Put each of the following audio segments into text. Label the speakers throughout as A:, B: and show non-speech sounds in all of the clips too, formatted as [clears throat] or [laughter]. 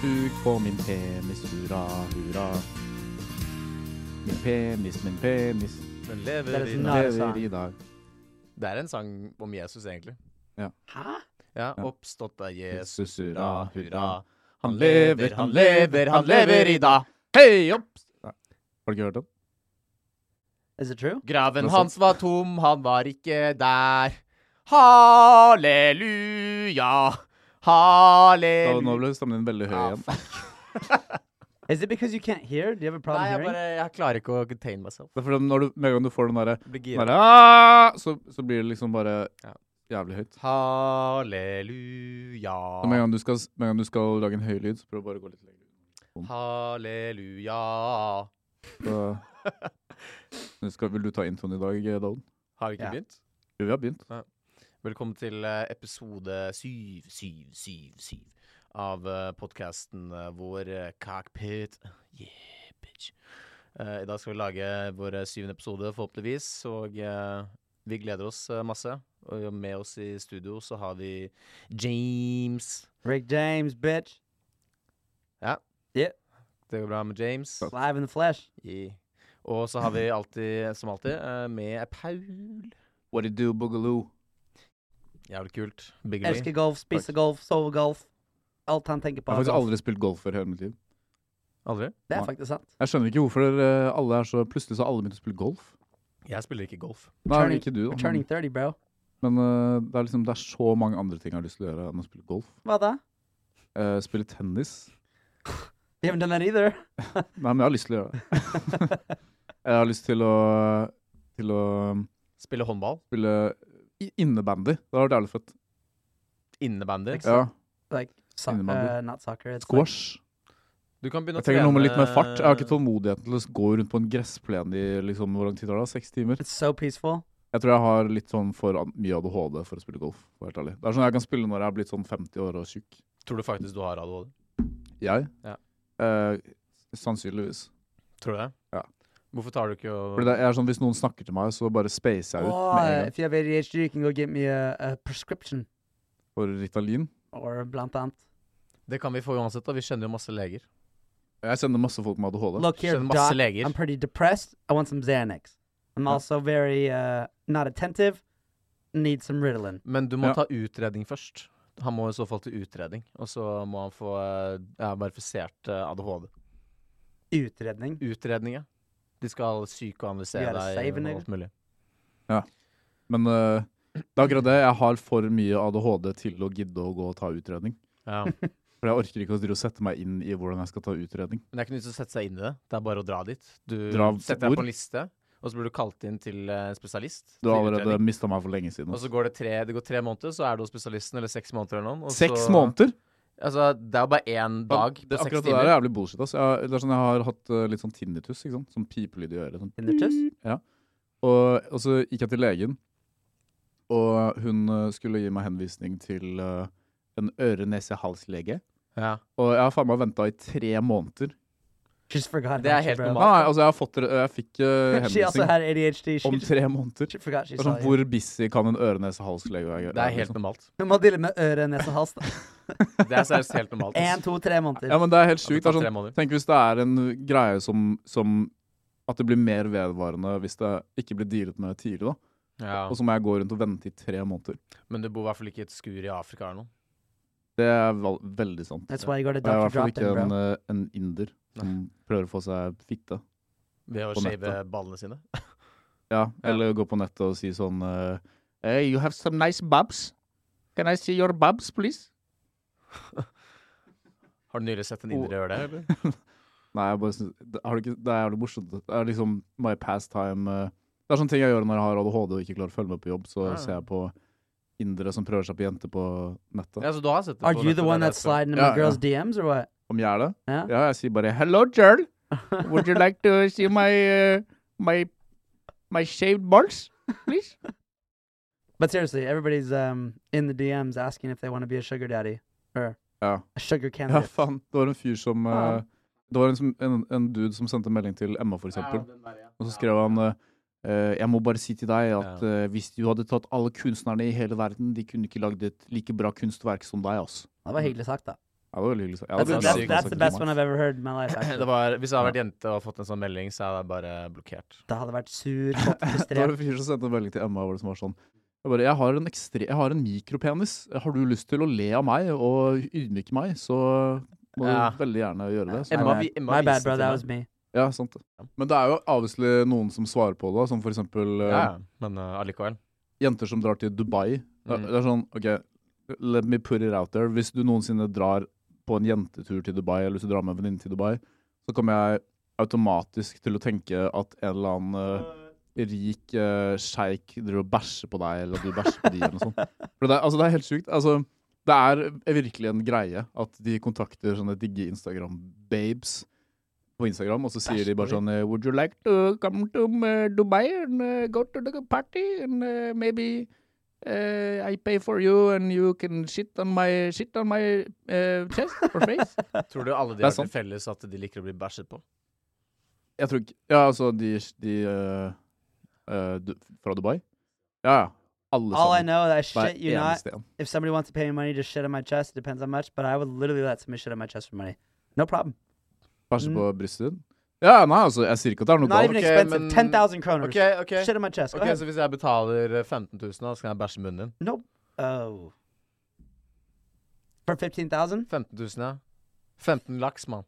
A: sug på min penis, hurra, hurra. Min penis, min penis,
B: Den
C: Det er
B: lever
C: et
B: i
C: navn.
B: dag.
A: lever i dag.
B: Det er en sang om Jesus, egentlig.
C: Hæ?
A: Ja.
B: Ja, Oppstått er Jesus,
A: Jesus,
B: hurra, hurra.
A: Han lever, han lever, han lever i
B: dag.
A: Hei, opp! Nei, Har du ikke hørt den?
C: Is it true?
B: Graven
A: Noe sånt.
B: hans var tom, han var ikke der. Halleluja,
A: Nå, nå
B: halleluja.
A: ble stemmen din veldig høy
B: Ah,
A: igjen.
C: Is it because you can't hear? Do you have a problem
B: Nei, jeg
C: hearing?
B: bare Jeg klarer ikke å contain myself.
A: Det er fordi når du, Med en gang du får den derre
B: Blir
A: den
B: gira.
A: derre, «Ah!», så, så blir det liksom bare
B: Ja.
A: jævlig høyt.
B: Halleluja.
A: Så med en gang du skal, med en gang du skal lage en høy lyd, så prøv å bare å gå litt lenger.
B: Halleluja.
A: Så, Nå skal, vil du ta introen i dag, Dalen?
B: Har vi ikke
C: Ja.
B: begynt?
A: Jo, vi har begynt.
B: Velkommen til eh, episode 7, 7, 7, 7 av eh, podkasten eh, vår eh, Cockpit. Yeah, bitch. Eh, I dag skal vi lage vår eh, syvende episode, forhåpentligvis, og eh, vi gleder oss eh, masse. Og med oss i studio så har vi James.
C: Rick James, bitch.
B: Det går bra med James.
C: Live in the flesh.
B: Yeah. Og så har vi alltid, som alltid, eh, med Paul.
A: What do you do, boogaloo?
B: Jævlig kult. Big Lee.
C: Elsker golf, spiser
A: Takk.
C: golf, sover golf. Alt han tenker på,
A: Jeg har
C: er
A: faktisk
C: golf.
A: aldri spilt golf før i hele mitt liv.
B: Aldri?
C: Det er
A: Nei.
C: faktisk sant.
A: Jeg skjønner ikke hvorfor eh, alle er så Plutselig så har alle begynt å spille golf.
B: Jeg spiller ikke golf.
A: Nei,
C: Turning-
A: ikke du,
C: We're
A: da. Men,
C: turning 30, bro.
A: men eh, det, er liksom, det er så mange andre ting jeg har lyst til å gjøre enn å spille golf.
C: Hva da?
A: Eh, spille tennis.
C: We haven't done that either.
A: Nei, men jeg har lyst til å gjøre det. [laughs] jeg har lyst til å, til å um,
B: Spiller håndball.
A: spille i- innebandy. Det har vært jævlig fett.
B: Innebandy.
A: Ja.
C: Like, so
A: Innebandy.
C: uh, not soccer. It's
A: Squash.
B: Du kan begynne å
A: Jeg trenger noe med litt mer fart. Jeg har ikke
B: trene-
A: tålmodigheten til å gå rundt på en gressplen i liksom, hvor lang tid tar det? da? Seks timer?
C: Like, it's so peaceful.
A: Jeg tror jeg har litt sånn for an- mye ADHD for å spille golf. for å være helt ærlig. Det er sånn jeg kan spille når jeg er blitt sånn 50 år og tjukk.
B: Tror du faktisk du har ADHD?
A: Jeg?
B: Ja.
A: Eh, sannsynligvis.
B: Tror du det?
A: Ja.
B: Hvorfor tar du ikke og
A: Fordi det er sånn, Hvis noen snakker til meg, så bare spacer jeg ut
C: Or,
A: med en
C: uh,
A: gang.
C: if you have ADHD, you can go get me a, a prescription
A: For Ritalin.
C: or blunt amp.
B: Det kan vi få uansett, da. Vi kjenner jo masse leger.
A: Jeg kjenner masse folk med ADHD.
C: Look here,
B: Kjenner masse
C: doc.
B: leger.
C: I'm pretty depressed. I want some Xanax. I'm
A: Yeah.
C: also very uh, not attentive. Need some Ritalin.
B: Men du må
A: Ja.
B: ta utredning først. Han må i så fall til utredning, og så må han få eh, ja, verifisert eh, ADHD.
C: Utredning.
B: Utredning, ja. De skal
C: You
B: psykoanalysere
C: gotta save a
B: deg
C: nigga.
B: og alt mulig.
A: Men eh, det er akkurat det. Jeg har for mye ADHD til å gidde å gå og ta utredning.
B: Ja. Men
A: For jeg orker ikke å drive og sette meg inn i hvordan jeg skal ta utredning.
B: det er ikke noe vits å sette seg inn i det. Det er bare å dra dit. Du
A: Dra til
B: setter deg
A: hvor?
B: på en liste, og så blir du kalt inn til eh, spesialist.
A: Du har
B: til
A: allerede
B: utredning.
A: mista meg for lenge siden.
B: Og så går det tre, det går tre måneder, så er du hos spesialisten, eller seks måneder eller noe. og
A: Seks
B: så-
A: måneder!
B: Altså, det er jo bare én dag
A: Det,
B: på seks
A: akkurat det
B: timer.
A: der er jævlig bullshit. Ass. Jeg, har- det er sånn, jeg har hatt eh, litt sånn tinnitus. Ikke sant? Sånn pipelyd i øret. Sånn
C: Tinnitus?
A: Og, og så gikk jeg til legen, og hun eh, skulle gi meg henvisning til eh, en øre-nese-hals-lege.
B: Ja.
A: Og jeg har faen meg venta i tre måneder.
C: Just forgot.
B: Det er
C: about you,
B: helt
C: bro.
A: Nei,
B: normalt.
A: altså jeg, har fått, re- jeg fikk
B: [laughs]
A: eh,
C: [laughs] She
B: altså,
C: also
A: henvisning
C: had ADHD. She,
A: om tre måneder.
C: she forgot she
A: Det er
C: saw
A: sånn,
C: you.
A: hvor busy kan en øre-nese-hals-lege være?
B: Det er helt
A: liksom?
B: normalt.
C: Hun må deale med øre, nese,
A: [laughs]
C: hals. da.
B: Det er seriøst helt normalt. ass.
C: En, to, tre måneder.
A: Ja, men det er helt
B: Ja, det
A: sjukt.
B: tar
A: Det er
B: tre
A: sånn,
B: måneder.
A: tenk hvis det er en greie som, som At det blir mer vedvarende hvis det ikke blir dealet med tidlig. da. Og så må jeg gå rundt og vente i tre måneder.
B: Men du bor i hvert fall ikke i et skur i Afrika eller noe.
A: Det er vel- veldig sant.
C: That's why you go to
A: Og jeg er i
C: Dr.
A: hvert fall
C: Drop
A: ikke
C: in,
A: en,
C: bro.
A: eh, en inder som prøver å få seg fitte.
B: Ved å
A: På
B: shave
A: nettet.
B: ballene sine.
A: Ja, Eller gå på nettet og si sånn eh, Hey, you have some nice bobs. Can I see your bobs, please?
B: Har du nylig sett en inder gjøre det? eller?
A: [laughs] Nei, jeg bare synes, det, har du ikke, det er jævlig morsomt. Det er liksom my pastime eh, Det er sånne ting jeg gjør når jeg har ADHD og ikke klarer å følge med på jobb. Så
B: Ja.
A: ser jeg på indere som prøver seg på jenter på nettet.
B: Ja, så du har
A: eh,
B: sett det
C: Are
B: på
C: you the
B: nettet,
C: one
B: det er
C: that's
B: det jeg spør.
C: sliding in
A: Yeah,
C: my girl's DMs or
A: [laughs]
C: what?
A: Om jeg er det?
C: Ja.
A: Ja, jeg sier bare 'hello, girl'. Would you like to see my eh, my my shaved balls, please?
C: But seriously, everybody's um in the DMs asking if they want to be a sugar daddy or
A: Ja.
C: a sugar
A: [laughs] Ja,
C: candidate.
A: faen. Det var en fyr som
C: Faen.
A: eh, Det var en, som- en, en dude som sendte melding til Emma, for eksempel. Og så skrev han eh, eh, Jeg må bare si til deg at
B: Ja.
A: eh, hvis du hadde tatt alle kunstnerne i hele verden, de kunne ikke lagd et like bra kunstverk som deg, ass.
C: Det var hyggelig sagt, da.
A: Ja, det var veldig hyggelig sagt. Ja, det
C: That's,
A: ble
B: det
A: bra
B: blir
C: that's, that's,
B: sykt
A: sagt
C: the
A: til
C: best
A: meg.
C: one I've ever heard in my
B: [laughs]
C: life.
B: Det
C: Actually.
B: var, hvis jeg hadde vært jente og fått en sånn melding, så hadde jeg bare blokkert.
C: Det hadde vært sur,
A: [laughs] [laughs] Det
C: kåt,
A: var
C: frustrert.
A: en fyr som sendte en melding til Emma hvor det som var sånn jeg, bare, jeg, har en ekstre, jeg har en mikropenis. Har du lyst til å le av meg og ydmyke meg, så må du
B: Ja.
A: veldig gjerne gjøre det. Så,
B: Emma
C: My
B: vi-
C: bad.
B: Emma
C: My bad,
B: viste
C: bro.
B: til
C: That
B: meg.
C: was me.
A: ja, sant. det. Men det er jo avviselig noen som svarer på det, som for eksempel eh,
B: Ja, men eh, allikevel.
A: jenter som drar til Dubai. Det
B: Mm.
A: er- Det er sånn, ok, let me put it out there. Hvis du noensinne drar på en jentetur til Dubai, eller hvis du drar med en venninne til Dubai, så kommer jeg automatisk til å tenke at en eller annen eh, rik uh, sjeik driver og bæsjer på deg, eller at du bæsjer på de, eller noe sånt. For det er, altså, det er helt sjukt. Altså, det er virkelig en greie at de kontakter sånne digge Instagram-babes på Instagram, og så sier de bare sånn eh, Would you like to come to eh, Dubai and eh, go to the party and eh, maybe eh, I pay for you and you can shit on my, shit on my eh, chest or face? [laughs]
B: Tror du alle de
A: Det er
B: har til
A: sant.
B: felles at de liker å bli bæsjet på?
A: Jeg tror ikke Ja, altså, de, de eh, eh, du, Fra Dubai? Ja, ja. Alle
C: All I
A: sammen.
C: know is I
A: Hver
C: shit you not.
A: eneste en.
C: If somebody wants to pay me money to shit on my chest, it depends how much, but I would literally let somebody shit on my chest for money. No problem.
A: Bæsje
C: Mm.
A: på brystet ditt? Ja, nei, altså, jeg sier ikke at det er noe
C: Not
A: galt.
C: even
B: Okay, um,
C: expensive.
B: men-
C: 10,000 kroners.
B: OK, OK.
C: Shit on my chest. Go
B: Ok,
C: ahead.
B: Så hvis jeg betaler eh, 15 000, da, så kan jeg bæsje i munnen din?
C: Nope. Oh. For 15,000?
B: 15 000, ja. 15 laks, mann.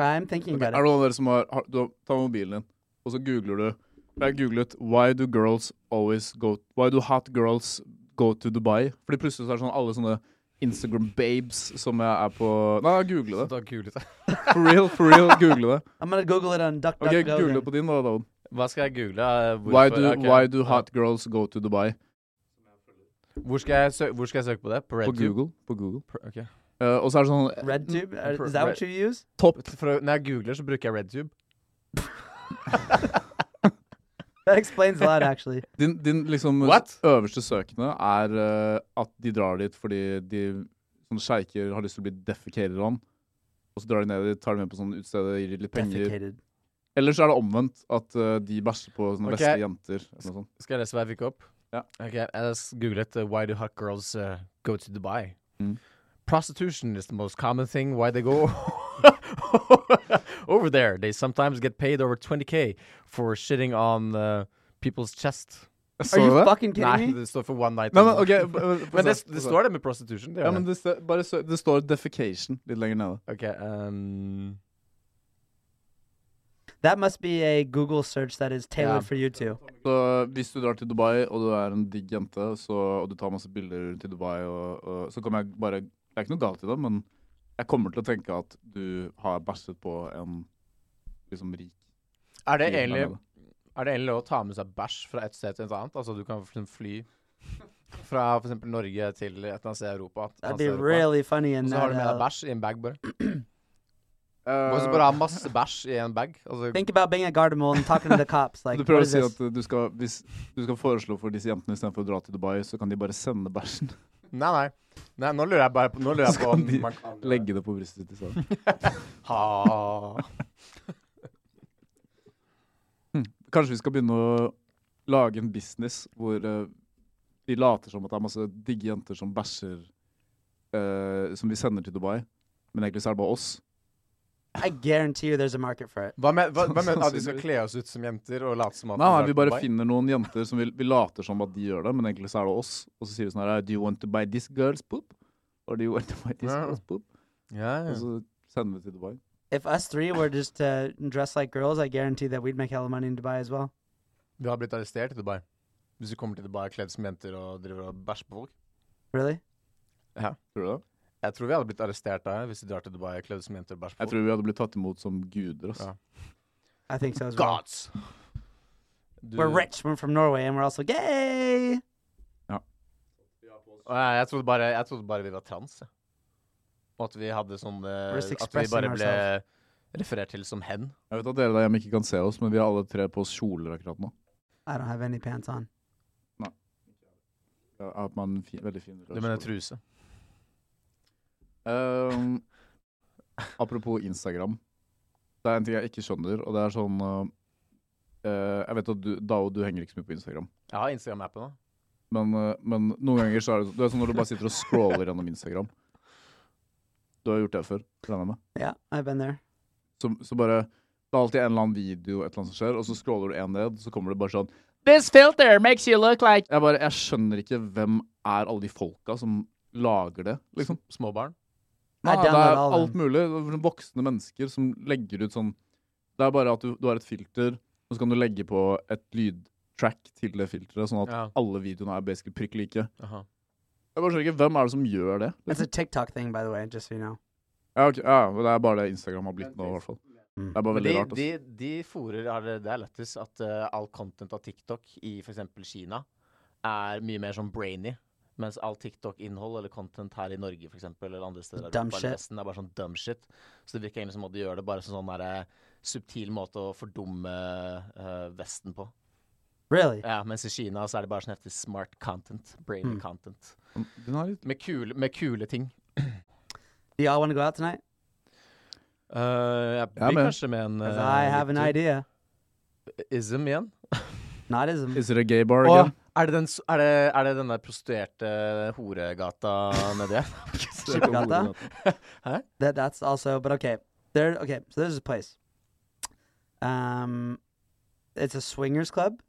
C: I'm thinking
A: Ok,
C: about
A: Er
C: it.
A: det noen av dere som har, har du, har- Ta mobilen din, og så googler du Jeg googlet 'Why do girls always go Why do hot girls go to Dubai?' Fordi plutselig så er det sånn alle sånne Instagram-babes som jeg er på Nei, google det.
B: Da kulet jeg.
A: For real, for real, google [laughs] det.
C: I'm gonna Google it on DuckDuckGo.
A: Ok, Google
C: then.
A: det på din, da. David.
B: [laughs] Hva skal jeg google? eh, Hvorfor?
A: Why do,
B: Ok.
A: why do hot girls go to Dubai?
B: Hvor skal jeg, sø hvor skal jeg søke på det? På
A: På
B: RedTube?
A: Google. På Google.
B: Pr- ok.
A: Eh, og så er det sånn
C: RedTube? Uh,
B: Pr-
C: Is that
B: Red-
C: what you use?
A: Topp
B: For, å- når jeg googler, så bruker jeg RedTube.
C: That
B: [laughs]
C: explains a lot, actually.
A: Din, din liksom
B: What?
A: øverste søkende er eh, at de drar dit fordi de sånne sjeiker har lyst til å bli defecated on. Og så drar de ned dit, tar de med på sånne utesteder, gir de litt penger.
C: Defecated.
A: Eller så er det omvendt, at eh, de bæsjer på sånne
B: Ok.
A: vestlige jenter. Eller noe sånt.
B: Skal jeg lese hva jeg fikk opp?
A: Ja.
B: Ok, Jeg s- googlet uh, 'Why do hot girls uh, go to Dubai'?
A: Mm.
B: Prostitution is the most common thing why they go [laughs] over there. They sometimes get paid over 20K for shitting on uh, people's chest.
A: Så
C: [laughs] Are you
A: det?
C: fucking
B: Nei,
C: kidding me?
B: det står for one night.
A: Nei, men
B: only. [laughs]
A: ok, b- b-
B: Men det,
A: få se,
B: det
A: få se.
B: står det med prostitution. Det
A: Ja,
B: gjør
A: men
B: det.
A: det, står- bare, sø- det står 'defecation' litt lenger nede.
B: Ok, um,
C: That must be a Google search that is tailored
B: Yeah.
C: for you two.
A: Så hvis du drar til Dubai, og du er en digg jente, så, og du tar masse bilder rundt i Dubai, og, og, så kommer jeg bare Det er ikke noe galt i det, men jeg kommer til å tenke at du har bæsjet på en liksom rik
B: er, det
A: fyr der
B: egentlig,
A: nede.
B: er det egentlig lov å ta med seg bæsj fra et sted til et annet? Altså du kan for eksempel fly fra for eksempel Norge til et eller annet sted i Europa. et
C: That'd
B: annet
C: be
B: sted i Europa.
C: really funny in
B: Og så
C: that.
B: har du med deg
C: Uh,
B: bæsj i en bag, bare.
A: Eh,
B: Og så bare ha masse bæsj i en bag. Altså,
C: think about being at Gardermold and talking to the
B: [laughs]
C: cops. Like,
A: du
C: what
A: prøver å
C: is
A: si
C: this?
A: at du skal, hvis du skal foreslå for disse jentene istedenfor å dra til Dubai, så kan de bare sende bæsjen. [laughs]
B: nei, nei. nei. Nå lurer jeg bare på, nå lurer jeg
A: Så
B: på
A: kan
B: om
A: de
B: man kan
A: Legge det på brystet ditt isteden.
B: ha
A: Kanskje vi skal begynne å lage en business hvor eh, vi later som at det er masse digge jenter som bæsjer eh, som vi sender til Dubai, men egentlig så er det bare oss.
C: I guarantee you there's a market for it.
B: Hva med, hva, hva med at vi skal kle oss ut som jenter og late som at
A: Nei, nei,
B: vi drar
A: vi
B: til
A: bare
B: Dubai?
A: finner noen jenter som vi, vi later som at de gjør det, men egentlig så er det oss. Og så sier vi sånn her Do you want to buy this girl's poop? Or do you want to buy this
B: Ja.
A: girl's poop?
B: ja,
A: Og
B: ja.
A: så sender vi til Dubai.
C: If us three were just uh, dressed like girls, I guarantee that we'd make hella money in Dubai as well.
B: Du har blitt arrestert i Dubai. Hvis du kommer til Dubai kledd som jenter og driver og bæsjer på folk.
C: Really?
A: Tror du det?
B: Jeg tror vi hadde blitt arrestert der hvis vi drar til Dubai kledd som jenter og bæsjer på
A: Jeg tror vi hadde blitt tatt imot som guder. Ass.
B: Ja.
C: I think so as well.
B: Gods! Du-
C: We're rich. We're from Norway, and we're also gay.
B: Nei, jeg trodde bare, jeg trodde bare vi var trans. jeg. Og at vi hadde sånn eh,
C: We're just
B: At vi bare
C: expressing
B: ble referert til som hen.
A: Jeg vet at dere der hjemme ikke kan se oss, men vi har alle tre på oss kjoler akkurat nå.
C: I don't have any pants on.
A: Jeg har på meg en fin, veldig fin
B: Du mener truse.
A: Ehm, apropos Instagram. Det er en ting jeg ikke skjønner, og det er sånn eh, eh, Jeg vet at du, Dao, du henger ikke så mye på Instagram.
B: Jeg har Instagram-appen, da.
A: Men, eh, men noen ganger så er det sånn Du er sånn når du bare sitter og scroller gjennom Instagram. Du har gjort det før, regner jeg med.
C: Yeah, I've been there.
A: Så, så bare Det er alltid en eller annen video et eller annet som skjer, og så scroller du én ned, så kommer det bare sånn This filter makes you look like Jeg bare, jeg skjønner ikke hvem er alle de folka som lager det, liksom.
B: Små barn.
A: Nei,
C: I
A: det
C: download
A: er
C: all
A: alt
C: them.
A: mulig. Det er sånn Voksne mennesker som legger ut sånn Det er bare at du, du har et filter, og så kan du legge på et lydtrack til det filteret, sånn at
B: Ja.
A: alle videoene er basically prikk like.
B: Aha.
A: Jeg bare skjønner ikke hvem er det som gjør det.
C: It's a TikTok thing, by the way, just so you know.
A: Ja, ok, ja, men det er bare det Instagram har blitt nå, i hvert fall.
C: Mm.
A: Det er bare
B: Men
A: veldig
B: de,
A: rart. altså. ass.
B: de, de fôrer er det, det er lettest at eh, all content av TikTok i f.eks. Kina er mye mer sånn brainy. Mens all TikTok-innhold eller content her i Norge for eksempel, eller andre steder i
C: Dumb
B: Europa,
C: shit.
B: eller Vesten, er bare sånn dumb shit. Så det virker egentlig som at de gjør det bare som sånn derre subtil måte å fordumme eh, Vesten på.
C: Really?
B: Ja, mens i Kina så er det bare sånn heftig smart content. Brainy
C: Mm.
B: content.
A: Den er litt
B: Med kule, med kule ting.
C: Do y'all want to go out tonight?
B: Eh, jeg
A: Jeg er
B: blir
A: med.
B: kanskje med en
C: 'Cause
B: eh,
C: I have an
B: litt-
C: idea.
B: Ism igjen.
C: Not ism.
A: Is it a gay bar
B: Åh,
A: again?
B: er, det den, s- er, det, er det den der prostituerte horegata nedi her?
C: Skippergata?
B: Huh?
C: That that's also but okay. There okay, so there's a place. Um it's a swingers club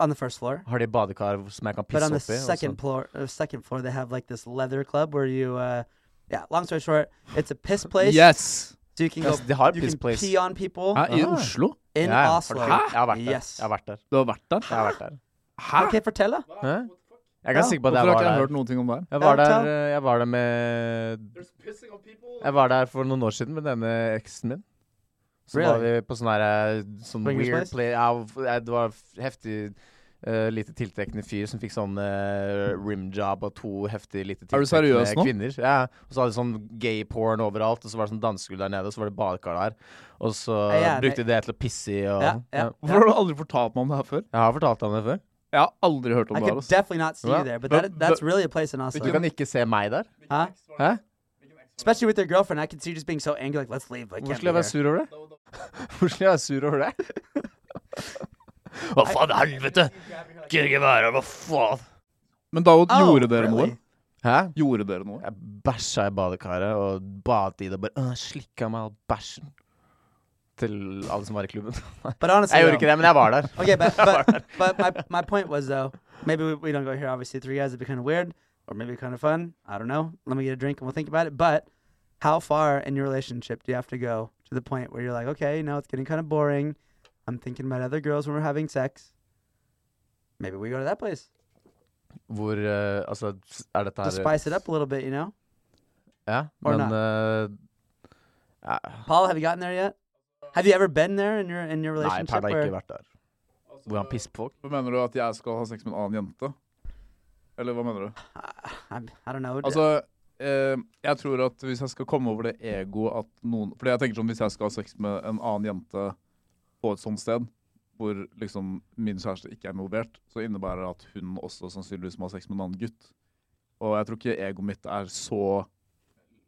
C: on the first floor.
B: Har de badekar som jeg kan
C: But
B: pisse
C: on the
B: oppi? og så-
C: second floor uh, second floor they have like this leather club where you uh yeah, long story short, it's
B: [laughs]
C: a piss place.
A: Yes!
C: So you can go
B: Yes, Altså, de har
C: you
B: piss
C: can
B: place.
C: pee on people
A: Hæ, I
B: Ah.
A: Oslo?
C: in
B: Ja, ja,
C: Oslo.
B: fortell. Jeg har vært der.
C: Yes.
B: Jeg har vært der.
A: Du har vært der?
B: Jeg har vært der.
A: Hæ?
C: Okay, fortell.
B: Hæ? Jeg er
C: Ja,
B: ganske sikker på
A: Hvorfor
B: at jeg
A: har
B: var
A: ikke jeg hørt
B: der.
A: noen ting om det her?
B: Jeg var
C: Ja,
B: der,
C: tell.
B: eh, jeg var der med Jeg var der for noen år siden med denne eksen min. Så var
C: Really?
B: vi på sånn her sånn
C: Swingers
B: weird
C: place?
B: play ja, f- ja, Det var f- heftig eh, lite tiltrekkende fyr som fikk sånn eh, rimjob av to heftig lite
A: Er du seriøs nå?
B: tiltrekkende kvinner. Ja, og så hadde de sånn gay porn overalt, og så var det sånn dansegulv der nede, og så var det badekar der. Og så
C: Ja, ja, det-
B: brukte de det til å pisse i og
C: Ja, ja.
B: Ja.
A: Hvorfor har du aldri fortalt meg om det her før?
B: Jeg har fortalt deg om det før.
A: Jeg har aldri hørt om det her.
C: I
A: altså.
C: could
A: ass.
C: definitely not see
B: Well,
C: you there, but,
A: but-
C: that that's
A: but-
C: really a place in Oslo.
B: Du kan ikke se meg der.
C: Huh?
B: Hæ?
C: Especially with your girlfriend, I could see you just being so angry, like let's leave. I
B: Hvorfor
C: can't be
B: skulle jeg
C: here.
B: være sur over det? Hvorfor skulle jeg være sur over det? [laughs] Hva faen, helvete! Kunne ikke være Hva faen?
A: Men David,
C: Oh,
A: gjorde dere noe?
C: really?
B: Hæ?
A: Gjorde dere noe?
B: Jeg bæsja i badekaret og badet i det og bare øh, slikka meg all bæsjen. Til alle som var i klubben.
C: But honestly,
B: Jeg
C: though-
B: gjorde ikke det, men jeg var der.
C: Okay, but but, but my, my point was though, maybe we, we don't go here. Obviously, three guys would be kind of weird, or maybe kind of fun. I don't know. Let me get a drink and we'll think about it. But how far in your relationship do you have to go to the point where you're like, okay, you know, it's getting kind of boring. I'm thinking about other girls when we're having sex. Maybe we go to that place
B: Hvor eh, Altså, er dette
C: to
B: her
C: spice it up a little bit. You know,
B: Ja,
C: Or
B: men eh, ja.
C: Paul, have you gotten there yet? Have you ever been there in your in your
B: Nei,
C: relationship?
B: Paul har
C: where-
B: ikke vært der. Hvor han pisser på folk.
A: Hva mener du at jeg skal ha sex med en annen jente? Eller hva mener du?
C: I, I don't know.
A: Altså, eh, jeg tror at hvis jeg skal komme over det egoet at noen Fordi jeg tenker sånn, hvis jeg skal ha sex med en annen jente på et sånt sted, hvor liksom min kjæreste ikke er involvert, så innebærer det at hun også sannsynligvis må ha sex med en annen gutt. Og jeg tror ikke egoet mitt er så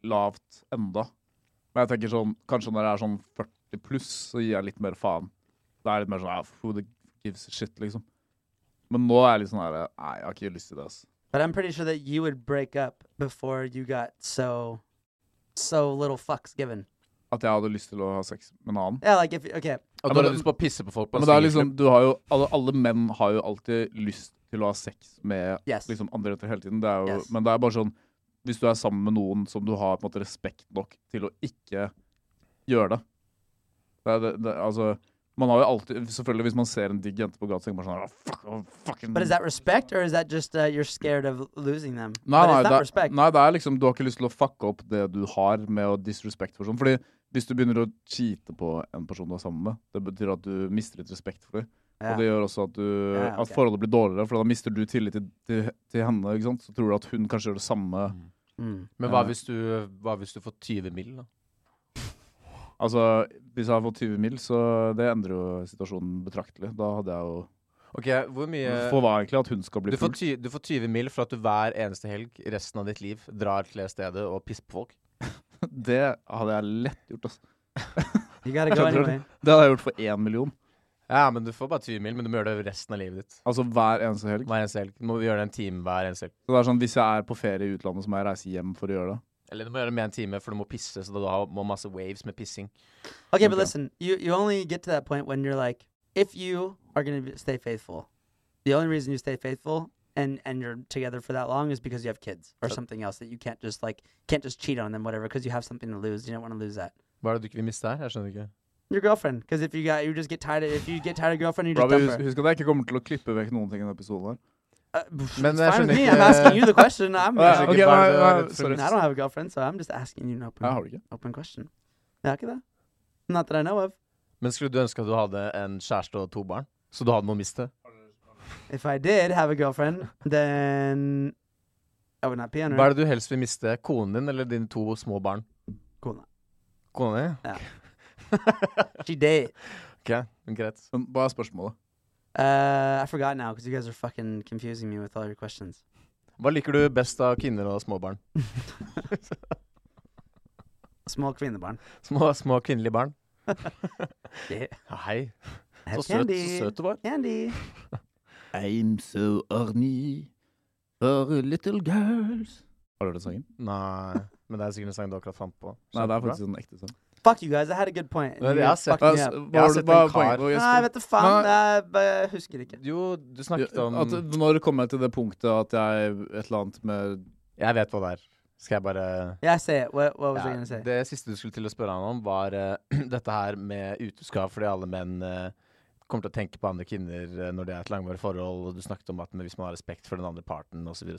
A: lavt enda. Men jeg tenker sånn, kanskje når jeg er sånn 40 pluss, så gir jeg litt mer faen. Da er jeg litt mer sånn, ah, who the gives a shit, liksom. Men nå er jeg litt sånn her, nei, jeg har ikke lyst til det, ass.
C: But I'm pretty sure that you would break up before you got so so little fucks given.
A: At jeg hadde lyst til å ha sex med en annen.
C: Yeah, like if okay,
A: Ja,
B: At du
A: men
B: har
A: det-
B: lyst på å pisse på folk på
A: Men
B: en
A: det er
B: swingersklubb.
A: liksom, du har jo, alle, alle menn har jo alltid lyst til å ha sex med
C: yes.
A: liksom, andre jenter hele tiden. Det er jo,
C: Yes.
A: Men det er bare sånn Hvis du er sammen med noen som du har på en måte respekt nok til å ikke gjøre det, det, er det, det Altså man har jo alltid, Selvfølgelig, hvis man ser en digg jente på gata, tenker man sånn «Åh, fuck, åh, fucking...
C: But is that respect or is that just uh, you're scared of losing them?
A: Nei,
C: but
A: nei,
C: it's not
A: det, er-
C: respect.
A: nei, det er liksom Du har ikke lyst til å fucke opp det du har, med å disrespect for sånn. Fordi hvis du begynner å cheate på en person du er sammen med, det betyr at du mister litt respekt for dem.
C: Yeah.
A: Og det gjør også at, du,
C: Ja, ok.
A: at forholdet blir dårligere, for da mister du tillit til, til, til henne. ikke sant? Så tror du at hun kanskje gjør det samme.
C: Mm.
B: Men hva hvis, du, hva hvis du får 20 mill., da?
A: Altså, Hvis jeg hadde fått 20 mil, så det endrer jo situasjonen betraktelig. Da hadde jeg jo
B: Ok, hvor mye
A: For hva egentlig? At hun skal bli
B: du får,
A: full? [laughs]
B: ty, du får 20 mil for at du hver eneste helg resten av ditt liv drar til det stedet og pisser på folk.
A: Det hadde jeg lett gjort. Altså.
C: You gotta [laughs] go
A: Skjønner du?
C: anyway.
A: Det hadde jeg gjort for én million.
B: Ja, men du får bare 20 mil, men du må gjøre det resten av livet ditt.
A: Altså hver eneste helg.
B: Hver eneste helg. Du må gjøre det en time hver eneste helg.
A: Så det er sånn, Hvis jeg er på ferie i utlandet, så må jeg reise hjem for å gjøre det.
B: Eller du må gjøre det med en time, for du må pisse, så du har- må masse waves med pissing.
C: Okay, but
A: Okay.
C: listen, you you only get to that point when you're like, if you are gonna be, stay faithful, the only reason you stay faithful and and you're together for that long is because you have kids or
B: So-
C: something else that you can't just like can't just cheat on them whatever because you have something to lose. You don't want to lose that.
B: Hva er det du ikke vil miste her? Jeg skjønner ikke.
C: Your girlfriend, because if you got you just get tired of if you get tired of girlfriend, you just
A: Robbie,
C: dump
A: husk,
C: her.
A: husk at jeg ikke kommer til å klippe vekk noen ting i denne episoden. her.
C: Uh, pff,
B: Men
C: it's
B: jeg
C: fine with
B: skjønner
C: me.
B: ikke-
C: I'm asking
B: [laughs]
C: you the question. I'm.
A: Ah,
C: I
A: ok,
B: Hva er
A: nei,
B: det du er
A: nei,
B: redd
A: sorry.
B: for?
C: don't have a girlfriend, so I'm just asking you an open
B: Oh.
A: Jeg har det ikke.
C: open question. Yeah, okay, though. Not that I know of.
B: Men skulle du ønske at du hadde en kjæreste og to barn? Så du hadde noe å miste?
C: If I did have a girlfriend, then I would not be on her.
B: Hva er det du helst vil miste? Konen din eller dine to små barn?
C: Kona.
B: Kona di?
C: She did.
B: [laughs] Ok, greit.
A: Men hva er spørsmålet?
C: Uh, I forgot now because you guys are fucking confusing me with all your questions.
B: Hva liker du best av kvinner og små barn?
C: Small queen in the barn.
B: Små, små kvinnelige barn? [laughs]
C: Yeah.
B: Ja, Hei. Så
C: Have
B: søt, så
C: candy.
B: søt du var.
C: Candy.
A: I'm so horny for little girls. Har du hørt den sangen?
B: Nei, men det er sikkert en sang du akkurat fant på.
A: Nei, det er
B: Kjempebra.
A: faktisk en ekte sang.
C: Fuck you guys. I had a good point.
B: Well,
C: you
B: yeah, I
C: guys
B: said-
C: fucked me
A: Altså, hva
C: up. Ah,
B: Jeg har
A: var-
B: sett
A: hva
B: en
A: var poenget?
B: kar.
A: Jeg
C: Nei,
A: spør-
C: vet du faen. Jeg husker ikke.
B: Jo, du snakket om
A: at, når kom jeg til det punktet at jeg et eller annet med
B: Jeg vet hva det er. Skal jeg bare
C: Yeah, say it. What, what was I
B: Ja,
C: gonna say?
B: Det siste du skulle til å spørre han om, var eh, [clears throat] dette her med utroskap fordi alle menn eh, kommer til å tenke på andre kvinner eh, når det er et langvarig forhold, og du snakket om at hvis man har respekt for den andre parten osv.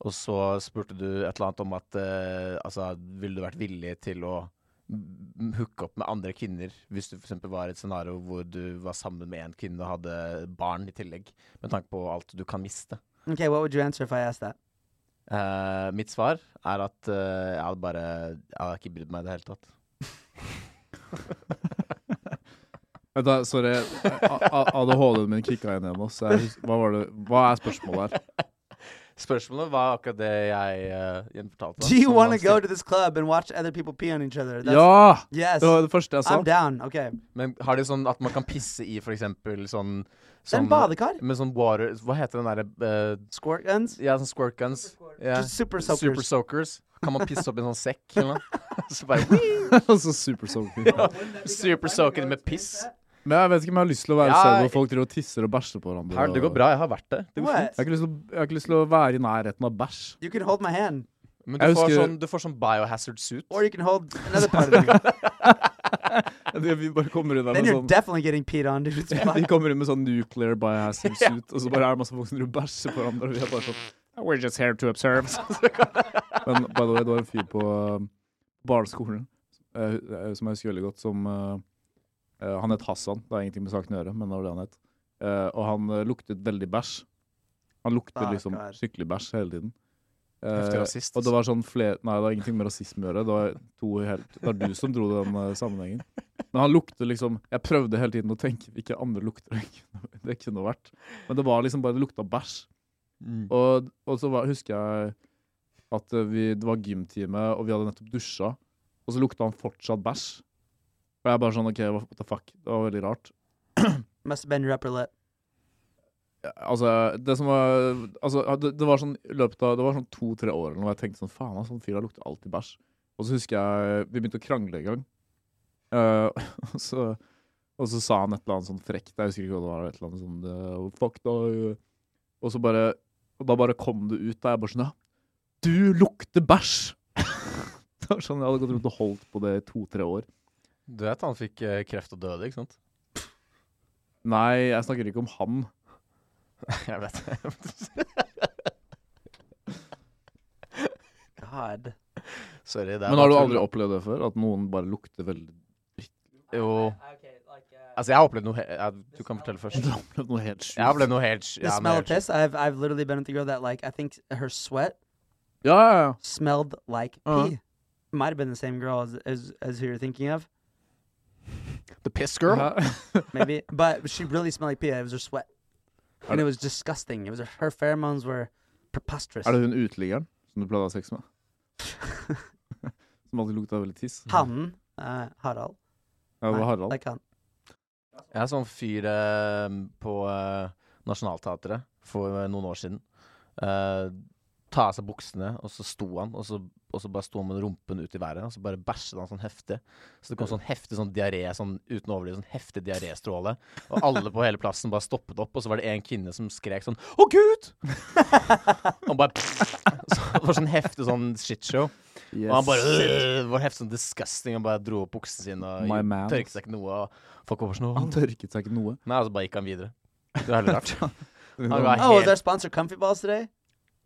B: Og så spurte du et eller annet om at eh, altså, ville du vært villig til å m- hooke opp med andre kvinner hvis du f.eks. var i et scenario hvor du var sammen med én kvinne og hadde barn i tillegg, med tanke på alt du kan miste.
C: Okay, what would you answer if I asked that?
B: Eh, mitt svar er at eh, jeg hadde bare Jeg hadde ikke brydd meg i det hele tatt.
A: Vent da, Sorry, ADHD-en min kicka inn igjen. ass. Jeg hus- Hva, var det? hva er spørsmålet her?
B: Spørsmålet var akkurat det jeg eh, gjenfortalte.
C: Do you want to go to this club and watch other people pee on each other? That's-
A: Ja!
C: Yes.
A: Det var det første jeg sa. [laughs]
C: I'm down. Okay.
B: Men har de sånn at man kan pisse i for eksempel sånn, sånn
C: Then badekar.
B: Med sånn water Hva heter den derre eh,
C: Squirt guns.
B: Ja, sånn squirt guns. Ja.
C: Just super soakers.
B: Super soakers. Kan man pisse opp i en sånn sekk eller noe? [laughs] Så bare
A: Altså super soaking.
B: Super soaker med piss.
A: Men jeg vet ikke om jeg har lyst til å være et
B: Ja,
A: sted hvor folk driver og tisser og bæsjer på hverandre.
B: Her, det går bra, jeg har vært det. Det går
C: What?
A: Jeg har ikke lyst til å, jeg har ikke lyst til å være i nærheten av bæsj.
C: You can hold my hand,
B: fint. Men
A: Jeg
B: du får
A: husker-
B: sånn, du får sånn biohazard suit.
C: or you can [laughs] hold another part of me.
A: Vi bare kommer inn der
C: then
A: med
C: you're
A: sånn
C: definitely getting peed on, dude.
A: [laughs]
C: It's [laughs] fine.
A: De kommer inn med sånn [laughs] nuclear biohazard suit, og så bare er det masse folk som driver og bæsjer på hverandre. Og vi er bare sånn We're just here to [laughs] observe. Men by the way, det var en fyr på eh, barneskolen eh, eh, som jeg husker veldig godt, som eh, eh, Han het Hassan. Det har ingenting med saken å gjøre, men det var det han het. Eh, og han eh, luktet veldig bæsj. Han luktet
C: Fuck,
A: liksom
C: God.
A: skikkelig bæsj hele tiden.
B: Heftig
A: Eh,
B: rasist.
A: og det var sånn flere Nei, det har ingenting med rasisme å gjøre. Det var, to helt, det var du som dro den eh, sammenhengen. Men han lukter liksom Jeg prøvde hele tiden å tenke hvilke andre lukter det kunne, det kunne vært. Men det var liksom bare det lukta bæsj.
B: Mm.
A: Og, og så var, husker jeg at eh, vi, det var gymtime, og vi hadde nettopp dusja. Og så lukta han fortsatt bæsj. Og jeg bare sånn OK, what the fuck? Det var veldig rart.
C: Must have been your upper lip.
A: Altså, det som var altså, det, det var sånn i løpet av Det var sånn to-tre år eller noe, og jeg tenkte sånn Faen, altså, han fyren her lukter alltid bæsj. Og så husker jeg Vi begynte å krangle en gang. Eh, [laughs] og, så, og så sa han et eller annet sånn frekt Jeg husker ikke hva det var. Et eller annet sånn eh, Fuck, da eh». Og så bare Og da bare kom det ut. Da jeg bare sånn Ja, du lukter bæsj! [laughs] det var sånn Jeg hadde gått rundt og holdt på det i to-tre år.
B: Du vet han fikk eh, kreft og døde, ikke sant?
A: Nei, jeg snakker ikke om han.
B: [laughs] Jeg vet
C: God.
B: Sorry, det er
A: Men har du
B: bare
A: aldri
B: tull.
A: opplevd det før? At noen bare lukter veldig [laughs]
B: Jo.
C: Okay, like, uh,
B: Altså, jeg har opplevd noe he ja, Du kan fortelle [laughs] først.
A: Du har opplevd noe helt sjukt?
B: Jeg har oppleved noe helt
C: the
B: ja, noe
C: smell of
B: helt sjukt.
C: piss. I've I've literally been with the girl that like I think her sweat
A: Ja, ja, ja.
C: smelled like
A: Uh-huh.
C: pee. Might have been the same girl as as, as who you're thinking of,
B: The piss girl?
A: Hæ?
C: maybe. [laughs] but she really smelled like pee. It was her sweat,
A: Are
C: and it was disgusting. It was her, her pheromones were preposterous. [laughs]
A: Er det hun uteliggeren som du pleide å ha sex med? Som alltid lukta veldig tiss?
C: Han, uh, Harald,
A: Ja, det var Harald.
C: like um, han.
B: Jeg er sånn fyr eh, på eh, Nationaltheatret for eh, noen år siden. Eh, ta av seg buksene, og så sto han, og så, og så bare sto han med rumpen ut i været, og så bare bæsjet han sånn heftig. Så det kom sånn heftig sånn diaré, sånn uten å overdrive, sånn heftig diaréstråle. Og alle på hele plassen bare stoppet opp, og så var det en kvinne som skrek sånn Å, gud! og bare [laughs] så, Det var sånn heftig sånn shitshow. Og han bare øh, var heftig sånn disgusting og bare dro opp buksene sine og
A: My man.
B: tørket seg ikke noe. Og folk var bare sånn
A: Han
B: «Åh».
A: tørket seg ikke noe.
B: Nei, og så bare gikk han videre. Det var veldig
C: [laughs]
B: rart. Han
A: Nei,
B: var
C: Oh, is
B: helt
C: our sponsor Comfy Balls today?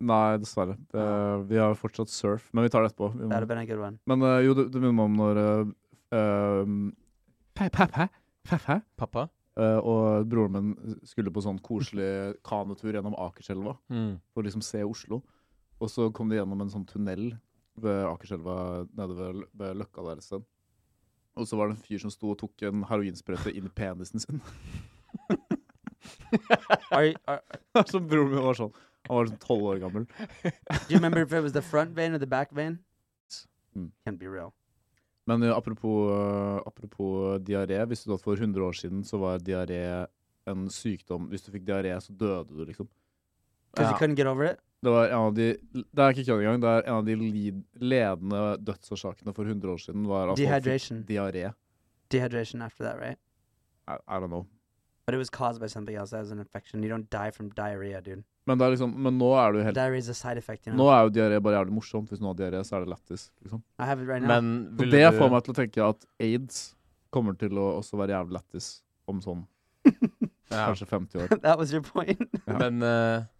A: dessverre. Det, vi har fortsatt surf, men vi tar det etterpå. Vi
C: That'd have
A: må.
C: been a good one.
A: Men eh, jo, det, det minner meg om når eh, ehm, Pæ, pæ, pæ, pæ, pæ.
B: Pappa?
A: Eh, og broren min skulle på sånn koselig kanotur gjennom Akerselva for å liksom se Oslo. Og så kom de gjennom en sånn tunnel ved Akerselva nede ved, ved Løkka der et sted. Og så var det en fyr som sto og tok en heroinsprøyte inn i penisen sin. [laughs]
C: Are you, are,
A: så broren min var sånn. Han var sånn tolv år gammel.
C: do you remember if it was the front [laughs] vein or the back vein?
A: Mm.
C: Can't be real.
A: Men eh, apropos, eh, apropos diaré. Visste du at for 100 år siden så var diaré en sykdom Hvis du fikk diaré, så døde du, liksom.
C: Because
B: Ja.
C: you couldn't get over it?
A: Det var en av de Det er ikke kødd engang. Det er en av de lid, ledende dødsårsakene for 100 år siden var at folk fikk
C: Dehydration.
A: diaré.
C: Dehydration after that, right?
A: I, I don't know.
C: But it was caused by something else. That was an infection. You don't die from diarrhea, dude.
A: Men, det er liksom, men nå er du helt
C: Diarrhea is a side effect, you know.
A: Nå er jo diaré bare jævlig morsomt. Hvis noen har diaré, så er det lættis. Liksom.
C: I have it right now.
B: Men
A: Og
B: ville
A: det
B: du
A: får meg til å tenke at aids kommer til å også være jævlig lættis om sånn
B: ja.
A: kanskje 50 år.
C: [laughs] that was your point.
A: Ja.
B: Men eh,
C: [laughs]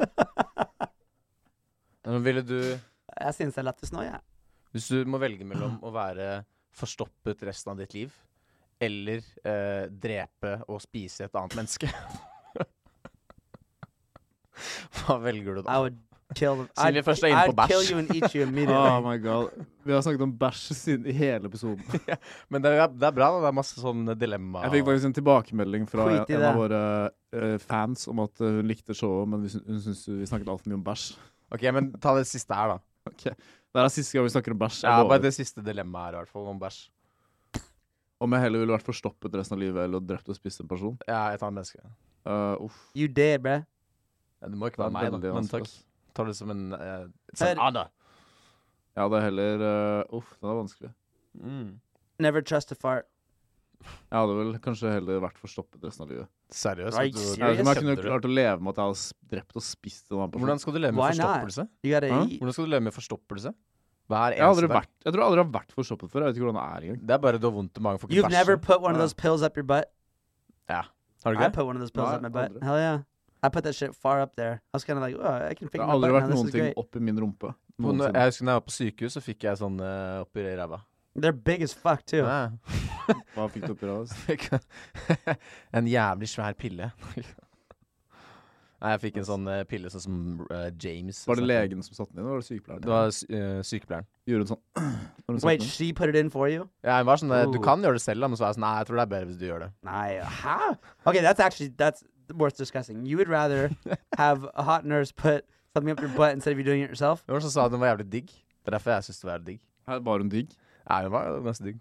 B: Men ville du
C: Jeg synes det er lettest nå, jeg.
B: Hvis du må velge mellom å være forstoppet resten av ditt liv, eller eh, drepe og spise et annet menneske [laughs] Hva velger du
C: I
B: da?
C: would kill
A: [laughs]
C: them.
B: Siden vi først er inne på
C: I'd kill
B: bæsj.
C: you and eat you
A: Oh
C: immediately.
A: my god. Vi har snakket om bæsj siden i hele episoden.
B: Men det er, det er bra, da. Det er masse sånn dilemma.
A: Jeg fikk faktisk en tilbakemelding fra
C: Skit i
A: en
C: det.
A: av våre eh, fans om at eh, hun likte showet, men vi syn- hun syntes vi snakket altfor mye om bæsj. [laughs]
B: Ok, men ta det siste her, da.
A: Det er siste gang vi snakker om bæsj.
B: Ja,
A: Jeg
B: bare
A: lover.
B: det siste dilemmaet her, i hvert fall, om bæsj.
A: Om jeg heller ville vært forstoppet resten av livet eller drept og spist en person.
B: Ja, et annet menneske.
A: Eh, uff.
C: You dead, bruh.
B: Ja, det må
A: Det
B: ikke være
A: er
B: meg, da.
A: veldig
B: Men
A: vanskelig,
B: takk.
A: ass.
B: Tar det som en eh, it's
C: Hør-
B: an honor.
A: Ja, det er heller eh, Uff, den er vanskelig.
B: Mm.
C: Never trust a fart.
A: Jeg hadde vel kanskje heller vært forstoppet resten av livet.
B: Seriøst?
C: Are
B: at
C: you
B: du-
A: Jeg vet ikke om jeg kunne
B: Kødder du?
A: klart å leve med at jeg hadde s- drept og spist en annen person.
B: Hvordan skal du leve med
C: Why not?
B: forstoppelse?
C: You gotta
A: Huh?
C: eat.
B: Hvordan skal du leve med forstoppelse? Hver
A: jeg, har
B: eneste
A: aldri
B: dag.
A: vært, jeg tror jeg aldri jeg har vært forstoppet før. Jeg vet ikke hvordan det er engang.
B: Det er bare du har vondt i magen for ikke
C: You've
B: bæsje.
C: never put one of
A: Ah.
C: those pills up your butt?
B: Har du
C: I
B: ikke det?
C: put one of those pills
A: No,
C: up my
A: I-
C: butt.
A: Andre.
C: Hell yeah. I put that shit far up there. I was kind of like, oh, I can
A: Det
C: figure
A: har aldri
C: my butt now.
A: vært
C: This
A: noen
C: is
A: ting
C: great.
A: opp i min rumpe.
B: På- når-
A: Noensinne.
B: Jeg husker da jeg var på sykehus, så fikk jeg sånn eh, oppi ræva.
C: They're big as fuck too.
B: Ja.
A: Hva fikk du oppi deg? ass?
B: [laughs] Fikk en jævlig svær pille. Nei, jeg fikk en sånn eh, pille sånn som eh, James.
A: [laughs] Var det
B: snakket om.
A: legen som satte den inn, eller var det sykepleieren?
B: Det var sy- eh, sykepleieren.
A: Gjorde hun sånn [clears throat] når hun satte
C: Wait,
A: den inn?
C: she put it in for you?
B: Ja, jeg var sånn, eh, Du
C: Oh.
B: kan gjøre det selv, da, men så var jeg sånn Nei, jeg tror det er bedre hvis du gjør det.
C: Nah, how? Okay, that's actually that's worth discussing. You would
A: [laughs]
C: rather have a hot nurse put something up your butt instead of you doing it yourself?
B: Det var noen som sa at den var jævlig digg. Det er derfor jeg syns det var jævlig digg.
A: Her var hun digg.
B: Nei, den var ganske digg.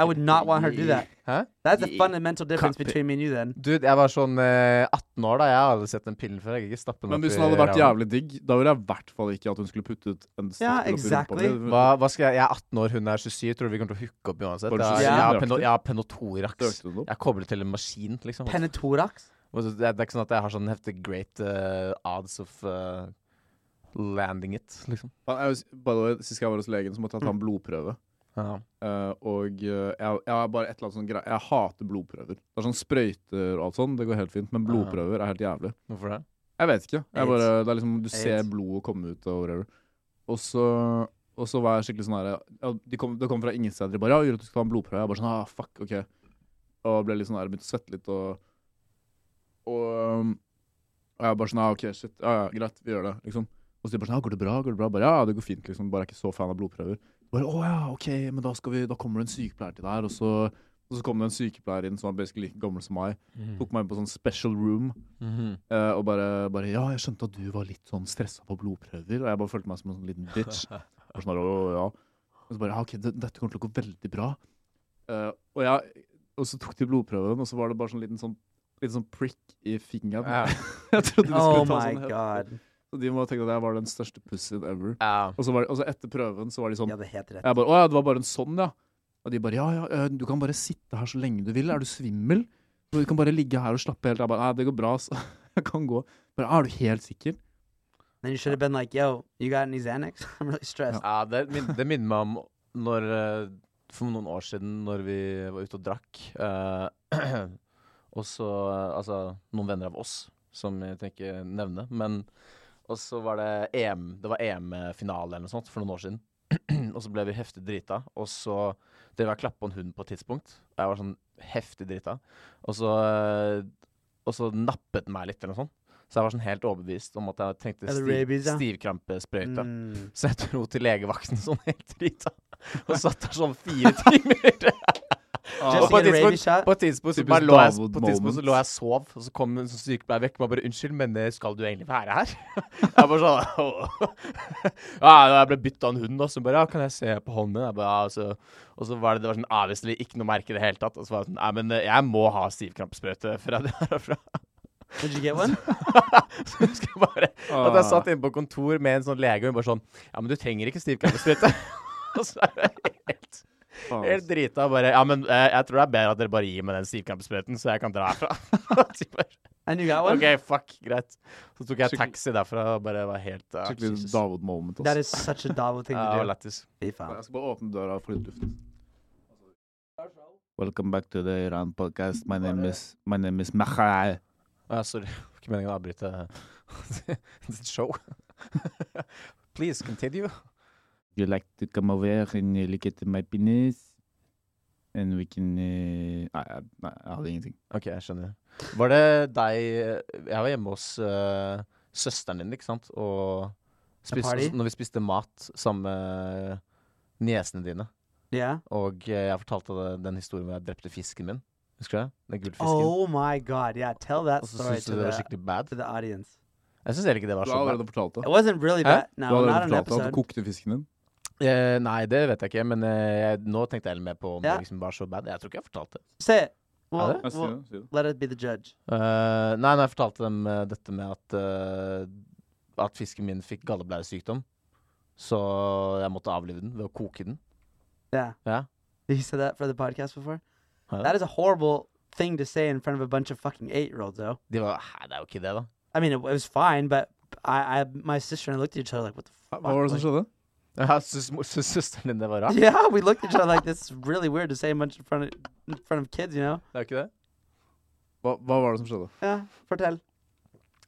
C: I would not want her to do that.
B: Hæ?
C: That's a
A: Ye-
C: fundamental difference
A: Copy.
C: between me and you then.
B: Dude, jeg var sånn eh, 18 år da. Jeg har aldri sett den pillen før. Jeg kan ikke stappe den
A: Men
B: opp
A: hvis
B: i
A: hun hadde vært
B: ræva.
A: jævlig digg, da ville jeg i hvert fall ikke at hun skulle puttet en
C: Ja,
A: støvel
C: exactly.
A: opp i rumpa mi.
B: hva, hva skal jeg, jeg er 18 år, hun er 27. Tror du vi kommer til å hooke opp uansett?
A: Var du
B: Jeg, har-
A: 27?
B: jeg, har
A: Nøyaktig.
B: peno, jeg har penotorax.
A: Døkte hun opp?
B: Jeg er koblet til en maskin, liksom.
C: Penatorax?
B: Og så- Det er det er ikke sånn at jeg har sånn heftig great eh, odds of eh, landing it, liksom.
A: Faen, jeg hus- by the way, Sist jeg var hos legen, så måtte jeg ta en blodprøve.
B: Ja.
A: Eh, og eh, jeg, jeg har bare et eller annet sånn grei Jeg hater blodprøver. Det er sånn Sprøyter og alt sånn, det går helt fint, men blodprøver er helt jævlig.
B: Hvorfor det?
A: Jeg vet ikke. Jeg bare,
C: Aids.
A: det er liksom, du ser
C: Aids.
A: blodet komme ut og whatever. Og så, og så var jeg skikkelig sånn her ja, de kom, Det kom fra ingen steder. De bare ja, 'Gjør at du skal ta en blodprøve.' Jeg bare sånn ah, fuck, ok. Og ble litt sånn her, begynte å svette litt og Og, um, og jeg bare sånn ah, 'OK, shit. Ja, ja, greit, vi gjør det', liksom. Og så de bare sånn ah, 'Går det bra? Går det bra?' Bare, ja, det går fint, liksom. Bare jeg er ikke så fan av blodprøver. Bare, å ja, ok, men da, skal vi, da kommer det en sykepleier til deg, og så, og så kom det en sykepleier inn som var basically like gammel som meg.
B: Mm-hmm.
A: Tok meg inn på sånn special room.
B: Mhm.
A: Eh, og bare, bare Ja, jeg skjønte at du var litt sånn stressa på blodprøver. Og jeg bare følte meg som en sånn liten
C: [laughs]
A: bitch. Og sånn, der, «Å, ja. Og så bare Ja, OK, det, dette kommer til å gå veldig bra. Eh, og, jeg, og så tok de blodprøven, og så var det bare sånn liten sånn Litt sånn prick i fingeren.
B: Ja.
A: [laughs] jeg trodde de skulle
C: Oh
A: ta
C: my
A: sånn
C: god.
A: Så de må tenke at jeg var den største pussyen ever.
B: Ja.
A: Og så, var, og så etter prøven så var de sånn
C: Ja, det heter det.
A: Jeg bare, Å ja, det var bare en sånn, ja. Og de bare ja, ja, eh, du kan bare sitte her så lenge du vil. Er du svimmel? Du kan bare ligge her og slappe helt av. Jeg bare, Nei, det går bra, ass. [laughs] Jeg kan gå. Bare, er du helt sikker?
C: Then you should have been like, yo, you got any Xanax? [laughs] I'm really stressed.
B: Ja, det, min, det minner meg om når eh, For noen år siden, når vi var ute og drakk. eh, [clears throat] og så eh, Altså, noen venner av oss, som jeg tenker ikke nevne, men Og så var det EM Det var EM-finale eller noe sånt for noen år siden. [clears throat] og så ble vi heftig drita, og så drev jeg og klappa en hund på et tidspunkt. Og jeg var sånn heftig drita. Og så eh, Og så nappet den meg litt, eller noe sånt. Så jeg var sånn helt overbevist om at jeg trengte
C: Er det
B: stiv,
C: rabies, ja?
B: stivkrampesprøyte.
C: Mm.
B: Så jeg dro til legevakten sånn helt drita. Og satt der sånn fire timer.
C: Just
A: Ah.
B: Og på
C: to
B: et
C: get a rabies
B: tidspunkt,
C: shot?
B: på et tidspunkt, så,
A: Typisk
B: bare lå jeg,
A: David
B: på et tidspunkt så
A: moment.
B: lå jeg og sov, og så kom en sånn sykepleier vekk og bare 'Unnskyld, men eh, skal du egentlig være her?' [laughs] Jeg bare sånn «Åh». [laughs] ja, Jeg ble bytt av en hund, og så bare 'Ja, kan jeg se på hånden din?' Jeg bare, ja, og, så, og så var det, det var sånn avviselig, ikke noe merke i det hele tatt. Og så var jeg sånn 'Nei, men eh, jeg må ha stivkrampesprøyte fra det herfra'.
C: Did you get one?
B: Så husker jeg bare at jeg satt inne på kontor med en sånn lege, og hun bare sånn Ja, men du trenger ikke stivkrampesprøyte. [laughs] og så er jeg helt,
A: Faen,
B: helt
A: ass.
B: drita og bare Ja, men eh, jeg tror det er bedre at dere bare gir meg den stivkrampesprøyten, så jeg kan dra herfra. [laughs] Så jeg bare,
C: And you got one?
B: OK, fuck, greit. Så tok jeg
A: Skikkelig-
B: taxi derfra og bare var helt uh,
A: Skikkelig David moment,
C: That
A: ass.
C: is such a Davo
B: [laughs]
C: thing
B: Ja, det var
C: to
B: lættis.
C: do. Be
A: Jeg
C: found.
A: skal bare åpne døra for litt luft. Welcome back to the Iran podcast. My name is, my name is Machal.
B: Å, ja, sorry. Det var Ikke meningen å avbryte eh, [laughs] ditt show. Please continue.
A: you like to come over and uh, look at my penis? And we can uh, nei, jeg- nei, jeg hadde ingenting.
B: OK, jeg skjønner. Var det deg Jeg var hjemme hos eh, søsteren din, ikke sant? Og spiste,
C: party?
B: når vi spiste mat sammen med niesene dine.
C: Yeah.
B: Og eh, jeg fortalte deg den historien hvor jeg drepte fisken min. Husker du det? Den gullfisken.
C: Oh my god. Yeah, tell that
B: og så
C: story
B: syntes
C: to
B: du det var
C: the,
B: skikkelig bad.
C: to the audience.
B: Jeg syns egentlig det var
A: Du
B: så
A: har
B: bad.
A: allerede fortalt det.
C: It wasn't really
B: Huh?
C: bad.
A: du
C: No,
A: har
C: not
A: allerede fortalt
C: an
A: det at du
C: episode.
A: kokte fisken din.
B: Eh, nei, det vet jeg ikke, men eh, jeg, nå tenkte jeg litt mer på om
C: Ja.
B: det liksom var så bad. Jeg tror ikke jeg fortalte det.
C: Say it.
B: Are
C: Well,
B: there?
A: Jeg sier
C: well,
A: det, sier det.
C: let us be the judge. [laughs]
B: Eh, nei, nei, jeg fortalte dem eh, dette med at, eh, at fisken min fikk galleblæresykdom. Så jeg måtte avlive den ved å koke den.
C: Yeah.
B: Ja.
C: Did you say that for the podcast before?
B: Huh?
C: That is a horrible thing to say in front of a bunch of fucking eight year olds, though.
B: De var Hæ, det er jo ikke det, da. [laughs]
C: I mean, it, it was fine, but I, I, my sister and I looked at each other like, what the fuck?
A: Hva var det som skjedde?
B: Ja, Syns syns søsteren din [laughs] det var
C: Like-
B: rart?
C: yeah, we looked at each other like, this is really weird to say a bunch in front of, in front of kids, you know?
B: Det er jo ikke det.
A: Hva, hva var det som skjedde?
C: Yeah, fortell.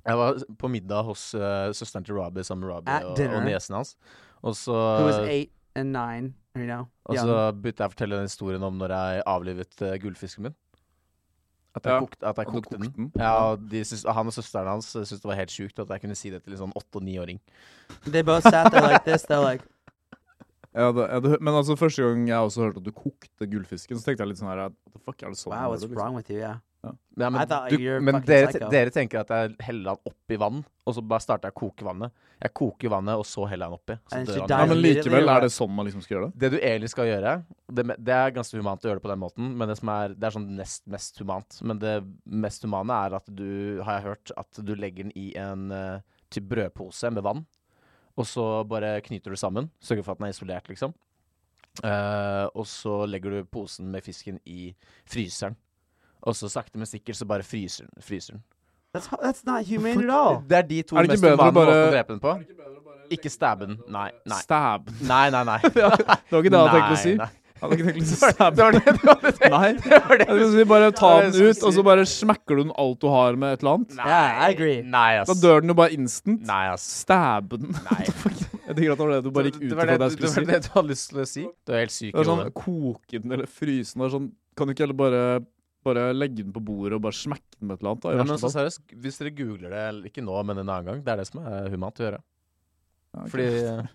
B: Jeg var på middag hos eh, søsteren til Robbie sammen med
C: At
B: Robbie og,
C: dinner.
B: og niesen hans. Og så,
C: Who was eight and nine, you know?
B: og
C: young.
B: så begynte jeg å fortelle den historien om når jeg avlivet eh, gullfisken min. At jeg,
A: Ja,
B: kokte, at
A: at
B: jeg
A: du
B: kokte,
A: kokte
B: den.
A: den.
B: Ja, og de syns- han og søsteren hans eh, syntes det var helt sjukt at jeg kunne si det til en sånn åtte- og niåring.
C: They both sat there like this. They're like,
A: Jeg hadde, jeg hadde, hø- men altså Første gang jeg også hørte at du kokte gullfisken, så tenkte jeg litt sånn her What the fuck, er det sånn?
C: wow, what's
A: det, liksom?
C: wrong with you? Yeah.
B: Ja, men
C: I thought
B: du,
C: you're
B: men
C: fucking
B: dere,
C: psycho.
B: dere tenker at jeg heller han oppi vann, og så bare starter jeg å koke vannet. Jeg koker vannet, og så heller jeg han oppi. Så
C: And
B: dør
C: she
A: liksom?"
B: han.
C: died.
A: Ja, men
C: Immediately,
A: likevel,
C: eller?
A: er det sånn man liksom skal gjøre det?
B: Det du egentlig skal gjøre det, me- det er ganske humant å gjøre det på den måten, men det, som er, det er sånn nest mest humant. Men det mest humane er at du, har jeg hørt, at du legger den i en eh, typ brødpose med vann, og så bare knyter du sammen. Sørger for at den er isolert, liksom. Eh, og så legger du posen med fisken i fryseren. Og så sakte, men sikkert så bare fryser den. Fryser den.
C: That's, ho- that's not humane at all.
B: Det er de to
A: Er det ikke
B: mest
A: bedre å
B: humane
A: bare-
B: måtene å drepe den på. Ikke stabbe den. Nei, nei.
A: Stab. Det
B: Nei, nei, nei. Det
A: var ikke det jeg hadde tenkt å si.
B: Nei.
A: Jeg hadde ikke
B: [laughs]
A: tenkt å si
B: Det var
A: stab.
B: det du hadde tenkt.
A: Nei.
B: Det var
A: Jeg
B: det
A: tenkte å si bare ta den ut, og så bare smakker du den alt du har med et eller annet.
B: Nei,
C: Yeah, I agree.
B: Nei, ass.
A: Da dør den jo bare instant.
B: Nei, ass.
A: Stabbe den.
B: [laughs] Nei.
A: Jeg tenker at det var det du bare gikk ut
B: Det
A: ifra
B: var
A: det
B: det,
A: jeg
B: det,
A: skulle
B: var
A: si.
B: det du hadde lyst til å si. Du er helt
A: Det
B: syk i
A: er sånn
B: hodet.
A: koke den eller fryse den. Det er sånn, kan du ikke heller bare, bare legge den på bordet og bare smekke den med et eller annet? Da, i
B: Ja, men
A: verste
B: så
A: fall?
B: seriøst, hvis dere googler det, eller ikke nå, men en annen gang, det er det som er humant å gjøre.
A: Ja, ok.
B: Fordi eh,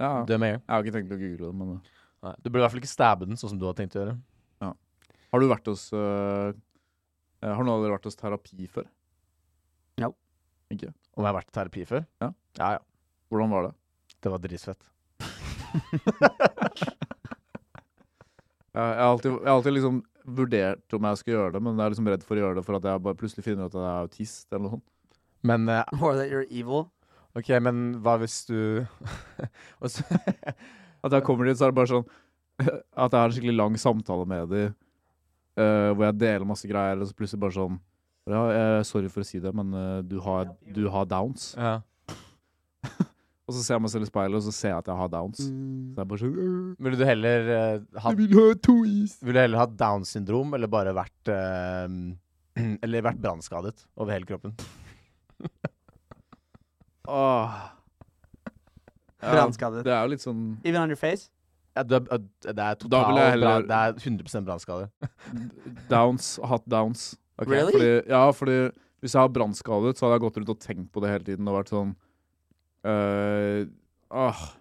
A: ja.
B: du er med en gang.
A: Jeg har ikke tenkt å google det, men eh.
B: Nei, Du burde i hvert fall ikke stabbe den, sånn som du har tenkt å gjøre.
A: Har du vært hos øh, eh, Har noen av dere vært hos terapi før?
B: Om jeg har vært i terapi før?
A: Ja.
B: ja. ja.
A: Hvordan var det?
B: Det var dritfett.
A: Jeg, jeg, har alltid, jeg har alltid liksom vurdert om jeg skal gjøre det, men jeg er liksom redd for å gjøre det for at jeg bare plutselig finner ut at jeg er autist eller noe sånt.
B: Men eh,
C: Or that you're evil.
D: Ok, men hva hvis du Og så
A: At jeg kommer dit, så er det bare sånn [laughs] At jeg har en skikkelig lang samtale med dem, eh, hvor jeg deler masse greier, og så plutselig bare sånn ja, eh, Sorry for å si det, men eh, du, har, du har downs.
D: ja.
A: Og så ser jeg meg selv i speilet, og så ser jeg at jeg har downs. Så jeg bare sånn «Øh,
B: Ville du heller eh, hatt
A: Jeg vil ha to is!
B: Ville du heller hatt Down syndrom eller bare vært eh, [clears throat] Eller vært brannskadet over hele kroppen?
A: Åh. Ja,
C: Brannskadet.
A: det er jo litt sånn
C: Even on your face?
B: Ja, du er, det er
A: Da
B: total
A: ville jeg
B: bra-
A: heller-
B: Det er 100 brannskade.
A: downs, hatt downs.
D: Ok,
C: Really?
A: Fordi, ja, fordi hvis jeg har brannskadet, så hadde jeg gått rundt og tenkt på det hele tiden og vært sånn øh, ah,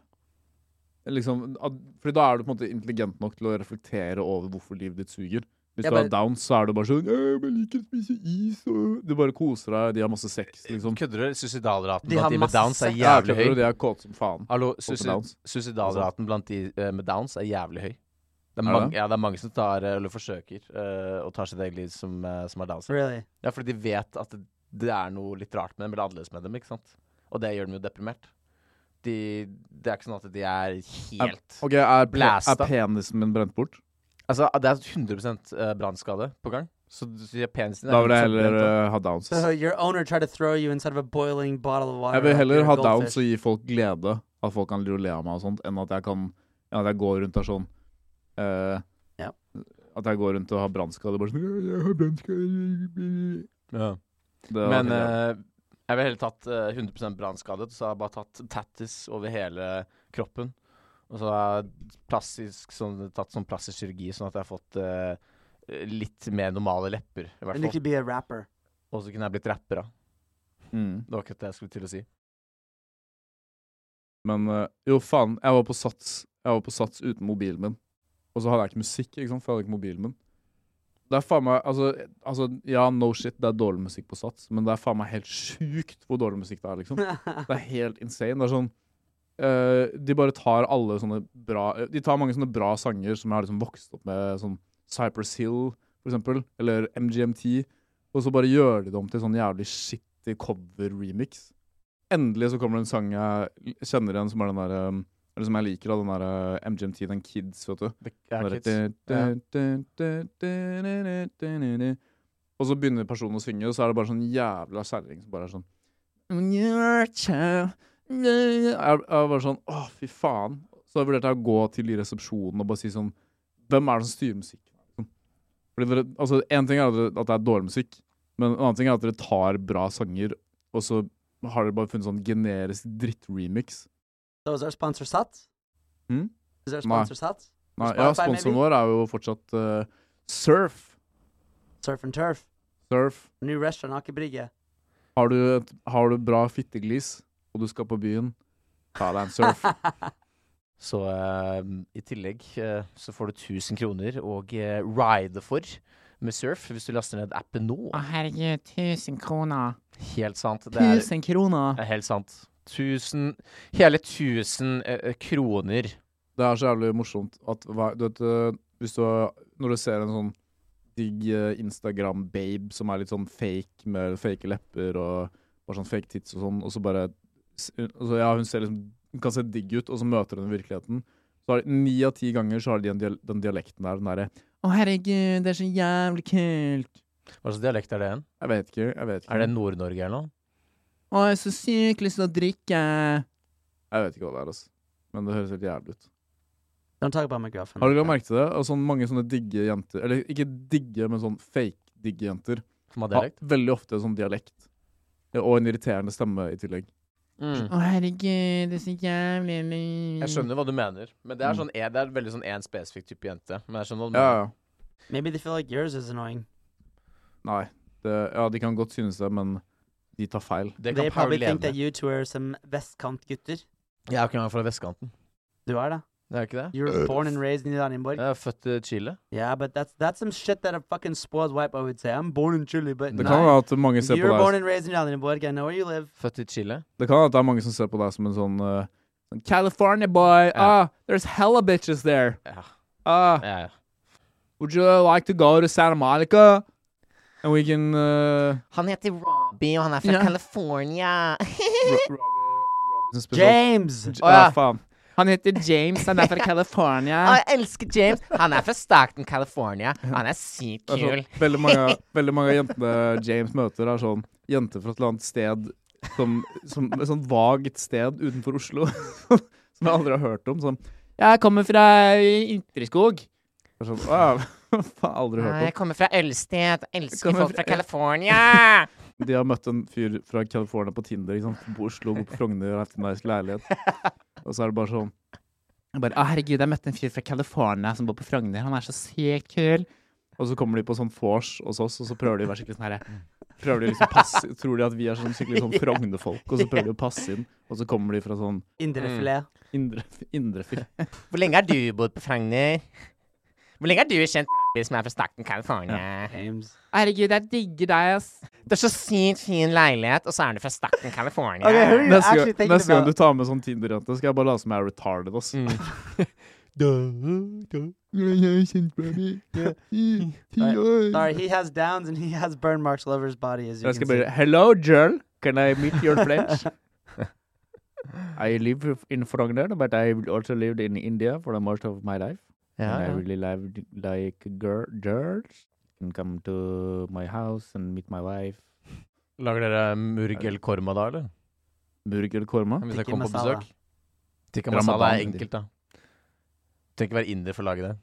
A: liksom, at, Fordi da er du på en måte intelligent nok til å reflektere over hvorfor livet ditt suger. Hvis
C: Ja,
A: du har
C: men-
A: downs, så er du bare sånn «Øh, men 'Jeg liker å spise is', og Du bare koser deg, de har masse sex, liksom.
B: Kødder du? Suicidalraten
C: De har
B: blant de med
C: masse
B: downs er
C: sex.
A: Ja,
B: jævlig
A: kødder du?
B: høy.
A: De er kåte som faen.
B: Hallo,
A: på
B: suicid-
A: downs.
B: suicidalraten blant de eh, med downs er jævlig høy. Det er,
A: det?
B: mange, ja, det er mange som tar, eh, eller forsøker eh, å ta sitt eget liv som, eh, som er downs.
C: Really?
B: Ja, fordi de vet at det, det er noe litt rart med dem, eller annerledes med dem, ikke sant? Og det gjør dem jo deprimert. De, det er ikke sånn at de er helt
A: Ok, er, pe
B: Blæsta.
A: er penisen min brent bort?
B: Altså, det er 100 brannskade på gang. Så du sier penisen
A: Da vil jeg
B: 100%
A: heller
B: liksom brent opp.
A: øh, ha downs.
C: So your owner tried to throw you inside of a boiling bottle of water.
A: Jeg vil
C: like
A: heller
C: you're a
A: ha
C: goldfish.
A: downs og gi folk glede, at folk kan le av meg og sånt, enn at jeg kan enn at jeg går rundt og er sånn eh,
C: Ja.
A: At jeg går rundt og har brannskade. Bare sånn «Jeg- Jeg har brannskade Det hadde vært
B: Men
A: greit.
B: eh, jeg ville heller tatt eh, 100 brannskadet, så har jeg bare tatt tattis over hele kroppen. Og så har jeg plastisk, sånn, tatt sånn plastisk kirurgi, sånn at jeg har fått eh, litt mer normale lepper. I
C: And
B: hvert
C: you
B: fall.
C: could be a [laughs] rapper.
B: Og så kunne jeg blitt rapper, da.
A: mm.
B: Det var akkurat det jeg skulle til å si.
A: Men eh, jo, faen. Jeg var på Sats Jeg var på sats uten mobilen min. Og så hadde jeg ikke musikk, ikke sant? for jeg hadde ikke mobilen min. Det er faen meg altså, altså, ja, no shit, det er dårlig musikk på Sats, men det er faen meg helt sjukt hvor dårlig musikk det er, liksom. Det er helt insane. Det er sånn eh, De bare tar alle sånne bra De tar mange sånne bra sanger som jeg har liksom vokst opp med, sånn Cypress Hill, for eksempel, eller MGMT, og så bare gjør de det om til sånn jævlig shitty cover-remix. Endelig så kommer det en sang jeg kjenner igjen, som er den derre Eller som jeg liker, da, den eh, derre MGMT, den Kids, vet du.
B: Det, jeg,
A: Den
B: er
A: derre
B: kids.
A: Og så begynner personen å synge, og så er det bare sånn jævla kjerring som bare er sånn You're a child. Jeg jeg var bare sånn Å, fy faen. Så jeg vurderte jeg å gå til de resepsjonene og bare si sånn Hvem er det som styrer musikken? Liksom. Fordi dere, altså, En ting er at det- at det er dårlig musikk, men en annen ting er at dere tar bra sanger, og så har dere bare funnet sånn generisk drittremix.
C: So is our sponsor Sats?
A: Hmm?
C: Is our
A: No.
C: sponsor Sats?
A: Nei,
C: Spotify,
A: ja, sponsoren
C: maybe?
A: vår er jo fortsatt eh, Surf.
C: Surf and Turf.
A: Surf.
C: New restaurant, Akebrygge.
A: Har du, et, har du bra fitteglis, og du skal på byen, ta deg en
B: [laughs]
A: surf.
B: Så eh, i tillegg eh, så får du 1000 kroner og eh, ride for med Surf hvis du laster ned appen nå.
E: Å herregud, 1000 kroner.
B: Helt sant. Det er,
E: 1000 kroner.
B: det er helt sant. 1000 Hele 1000 eh, kroner.
A: Det er så jævlig morsomt at hver- du vet, eh, hvis du, Når du ser en sånn digg eh, Instagram-babe som er litt sånn fake med fake lepper og bare sånn fake tits og sånn, og så bare s- altså, Ja, hun ser liksom Hun kan se digg ut, og så møter hun i virkeligheten. Så har de- Ni av ti ganger så har de den, dial den dialekten der. Den derre
E: Å herregud, det er så jævlig kult.
B: Hva slags dialekt er det igjen?
A: Jeg vet ikke. jeg vet ikke
B: Er det Nord-Norge eller noe?
E: Å, jeg har så sykt lyst til å drikke.
A: Jeg vet ikke hva det er, altså. Men det høres helt jævlig ut.
C: [laughs] Don't talk about my girlfriend.
A: Har du lagt
C: like
A: merke til det? Og sånn mange sånne digge jenter Eller ikke digge, men sånn fake-digge jenter.
B: Som har
A: Har
B: dialekt?
A: veldig ofte sånn dialekt. Ja, Og en irriterende stemme i tillegg.
B: Mm.
E: Å herregud, det er så jævlig lyst.
B: Jeg skjønner hva du mener, men det er,
A: Mm.
B: sånn, det er veldig sånn én spesifikk type jente. Men jeg skjønner hva du
A: Ja,
B: mener.
A: ja.
C: that. Maybe they feel like yours is annoying.
A: Nei. Det, ja, de kan godt synes det, men de tar feil.
B: Det
C: they
B: kan
C: probably
B: Paul leve
C: think that
B: med.
C: you two are some vestkantgutter.
B: Jeg er jo ikke engang fra vestkanten.
C: Du er da.
B: Det er jo ikke det?
C: You were born and raised in Oranienburg.
B: Jeg er født i Chile.
C: yeah, but that's that's some shit that a fucking spoiled white boy would say. I'm born in Chile, but
A: Det
C: nah.
A: kan være at mange ser
C: you
A: på
C: were born
A: deg
C: and raised in Oranienburg. I know where you live.
B: Født i Chile.
A: Det kan være at det er mange som ser på deg som en sånn eh, sånn California boy! Ah, there's hella bitches there!
B: Ja.
A: Ah,
B: ja, ja.
A: would you like to go to Santa Monica? And we can eh,
E: Han heter Robbie, og han er fra California.
A: Ro- Robbie
D: uten
A: er
D: spesial
C: James!
A: J-
B: Å, ja.
A: ja, faen. Ah,
E: Han heter James, han er fra
A: [laughs]
E: California.
B: Å, [laughs] jeg elsker James. Han er fra Stockton, California. Han er sykt
A: Det er
B: kul.
A: sånn, veldig, mange,
B: [laughs]
A: veldig mange av jentene James møter, er sånn jenter fra et eller annet sted som, som Et sånn vagt sted utenfor Oslo [laughs] som jeg aldri har hørt om. Sånn,
E: Jeg kommer fra Ytreskog.
A: det er sånn Å ja, [laughs] faen, aldri
B: Nei,
A: hørt
B: jeg kommer fra Ølsted. Elsker
A: kommer
B: folk
A: fra-
B: fra California.
A: om. [laughs] De har møtt en fyr fra California på Tinder. Ikke sant? Bor i Oslo, bor på Frogner, har hatt en nice leilighet. Og så er det bare sånn
E: Jeg bare, å herregud, jeg møtte en fyr fra California som bor på Frogner. Han er så sykt kul.
A: Og så kommer de på sånn vors hos oss, og så prøver de å være skikkelig sånn herre Prøver de å liksom passe Tror de at vi er sånn skikkelig sånn Frogner-folk, og så prøver de å passe inn, og så kommer de fra sånn
C: Indrefilet.
A: indre, indre fyr.
B: Hvor lenge har du bodd på Frogner? Hvor lenge har du kjent som er fra Stockton, California?
C: James.
E: Herregud, jeg digger deg, ass.
B: Det er så sykt fin leilighet, og så er du fra Stockton, California.
C: Okay, who are you
A: Neste,
C: actually
A: gang-
C: thinking
A: neste gang
C: about?
A: du tar med sånn Tinder-jente, skal jeg bare late som jeg er retarded. [laughs] Ass.
B: Mm.
C: Sorry, he has downs and he has burn marks all over his body, as you
A: Jeg skal
C: can see.
A: bare Hello, girl. Can I meet
C: [laughs]
A: your friends? I live in Frogner, but I also lived in India for the most of my life.
B: Ja,
A: And I
B: ja.
A: really loved, like girl, girls. Can come to my house and meet my wife.
B: Lager dere murg eller korma da, eller?
A: Burger korma.
B: [laughs] Hvis jeg
C: Tikka
B: kommer på
C: masala.
B: besøk? Tikka
A: Ramadan
B: masala er
A: heter det.
B: enkelt, da. Du trenger ikke være inder for å lage det.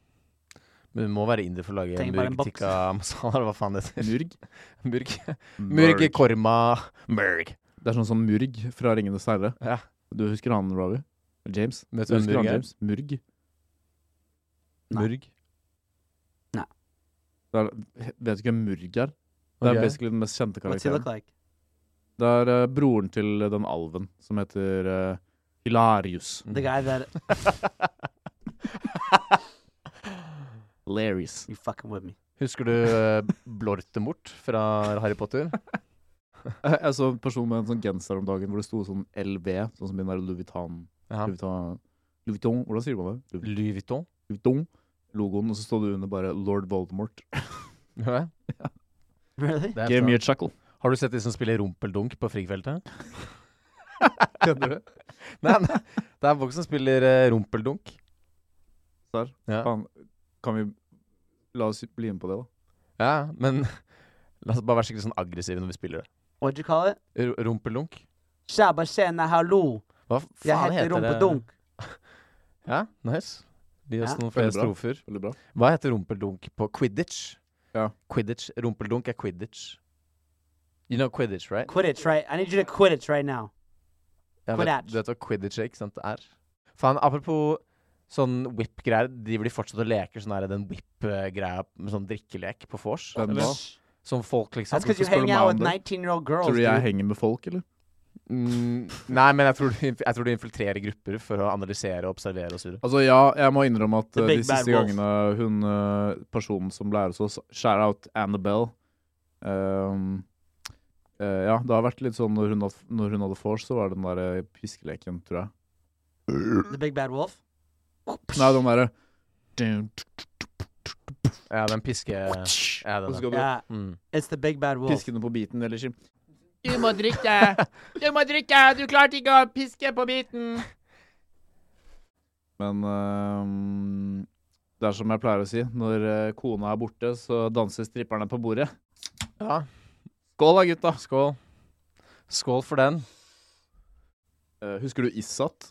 B: Men du må være inder for å lage
C: Trenger bare en
B: murg
C: boks.
B: tikka masala, eller hva faen det heter.
A: [laughs] Murg.
B: Murg. Murg, korma, murg.
A: Det er sånn som Murg fra Ringenes herre.
B: Ja.
A: Du husker han, Robbie? James?
B: Vet
A: Du
B: du hvem
A: husker
B: murg
A: han,
B: er?
A: James? Murg.
C: Nei.
B: Murg.
A: Det er, vet du ikke hvem Murg er? Det er
B: Ok.
A: basically den mest kjente
C: What's he look
A: karakteren.
C: like?
A: Det er eh, broren til den alven som heter eh, Hilarius.
C: The guy that
A: Hilarius.
C: you fucking with me.
B: [laughs]
C: [laughs]
B: Husker du eh, Blortemort fra Harry Potter?
A: Jeg, [laughs] jeg så en person med en sånn genser om dagen hvor det sto sånn LV, sånn som i den der Louis Vuitton
B: Ja.
A: Louis Vuitton, Louis Vuitton hvordan sier man det? Louis
B: Louis Vuitton?
A: Vuitton. Logoen, og så står det under bare Lord Voldemort.
B: Ja,
C: Really?
B: det er
A: Give me
B: fra-
A: a chuckle.
B: Har du sett de som spiller rumpeldunk på Frigfeltet?
A: [laughs] Kødder du?
B: Nei, nei. Det er folk som spiller eh, rumpeldunk.
A: Serr?
B: Ja.
A: Faen, kan vi La oss bli med på det, da.
B: Ja, men la oss bare være skikkelig sånn aggressive når vi spiller det.
C: What'd you call it?
B: R rumpeldunk?
C: Shabba tjena hallo.
B: Hva f-
C: Jeg
B: faen
C: heter
B: heter det?
C: Rumpedunk.
B: Ja, nice. Gi oss
C: Ja.
B: noen flere
A: Veldig bra.
B: strofer.
A: Veldig bra.
B: Hva heter rumpeldunk på quidditch?
A: Ja.
B: Quidditch. Rumpeldunk er quidditch. You know quidditch, right?
C: Quidditch, right? I need you to quidditch right now.
B: Jeg vet-
C: Quidditch.
B: Du vet hva quidditch er, ikke sant? Det er. Faen, apropos sånn whip-greier. Driver de fortsatt og leker sånn der, den whip-greia med sånn drikkelek på vors?
A: Hvem
B: Eller?
A: da?
B: Som folk liksom
C: That's because you
A: skal du
C: hang out with
A: mane det?
C: 19 year old girls.
A: Tror du
C: dude.
A: jeg henger med folk, eller?
B: mm, Nei, men jeg tror, du, inf- jeg tror du infiltrerer grupper for å analysere og observere og surre.
A: Altså, ja, jeg må innrømme at
C: The
A: eh, de
C: big bad
A: siste
C: wolf.
A: gangene hun eh, personen som lærer hos oss, shout out Annabelle Ehm, eh, Ja, det har vært litt sånn når hun, had- når hun hadde vors, så var det den der eh, piskeleken, tror jeg.
C: The Big Bad Wolf.
A: Nei, den derre dun,
B: Ja, den piske...
A: tsk,
B: Ja, den
A: Og så
B: der.
A: skal du
C: Yeah,
B: Mm.
C: it's the Big Bad Wolf.
A: piske den på biten, eller ikke.
E: Du må drikke. Du må drikke. Du klarte ikke å piske på biten.
A: Men ehm, det er som jeg pleier å si, når eh, kona er borte, så danser stripperne på bordet.
B: Ja,
A: Skål da, gutta!
B: skål. Skål for den.
A: Eh, husker du Issat?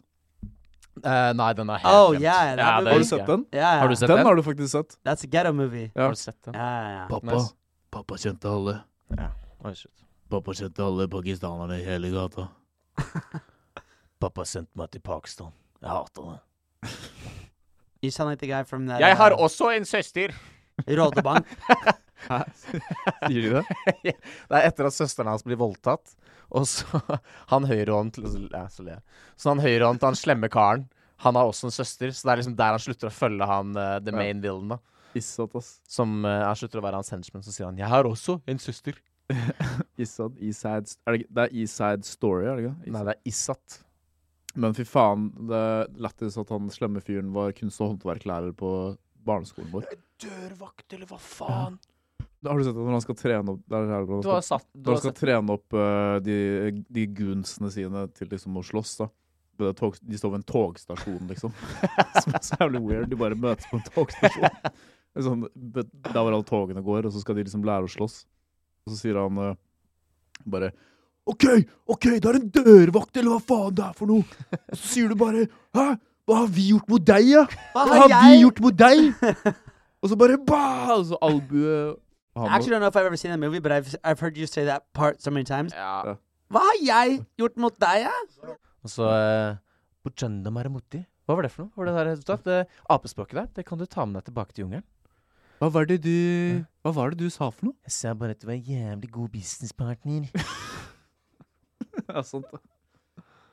B: Eh, nei, den er helt
C: Oh,
B: glemt.
C: yeah,
B: ja,
C: that movie-
B: det
A: Har du
B: husker
A: sett
B: jeg.
A: den?
C: Yeah.
B: Har du sett
A: Den
B: den?
A: har du faktisk sett. [laughs]
C: That's a ghetto movie.
A: Ja.
B: Har du sett den?
C: Yeah, yeah.
B: Pappa. Nice.
A: Pappa kjente alle.
B: Oi, shit.
A: Pappa kjente alle pakistanerne i hele
B: [laughs]
A: gata.
B: Pappa sendte meg til Pakistan. Jeg hater det.
C: You sound like the guy from that.
B: Jeg har
C: uh,
B: også en søster.
C: Rotobank.
A: Hæ? Sier de det?
B: Det er etter at søsteren hans blir voldtatt, og så [laughs] han høyrehånd til ja, Så ler jeg. Så han høyrehånd til han slemme karen. Han har også en søster, så det er liksom der han slutter å følge han eh, the main villain. da
A: Issat, ass.
B: Som eh, Han slutter å være hans henchman, så sier han 'Jeg har også en søster'.
A: Issat, Eastside st- er det, ikke- det er Eastside Story, er det ikke?
B: Nei, det er Issat.
A: Men fy faen, det er lættis at han slemme fyren var kunst- og håndverklærer på barneskolen vår.
B: Dørvakt, eller hva faen?
A: Da Har du sett at når han skal trene opp det er her, når
B: Du har
A: han skal,
B: satt du
A: når
B: har
A: han skal
B: sett,
A: trene opp eh, de, de goonsene sine til liksom å slåss, da, på det tog, De står ved en togstasjon, liksom. [laughs] Som er så jævlig weird. De bare møtes på en togstasjon. Det er Sånn, det- der hvor alle togene går, og så skal de liksom lære å slåss. Og så sier han eh, bare OK, OK, det er en dørvakt, eller hva faen det er for noe? Og så sier du bare Hæ? Hva har vi gjort mot deg, ja?
C: Hva
A: Hva har vi gjort mot deg? Og så bare bah! Og så albue
C: I
A: han,
C: actually don't know if I've ever seen that movie, but I've I've heard you say that part so many times.
A: Ja.
C: Hva har jeg gjort mot deg, ja?
B: Og så eh, Bujanda Maramutti. Hva var det for noe? Hva Var det, der, du sa? det apespråket der, det kan du ta med deg tilbake til jungelen.
E: Hva var det du Hva var det du sa for noe?
B: Jeg sa bare at du var en jævlig god businesspartner.
A: [laughs] Ja, sant det.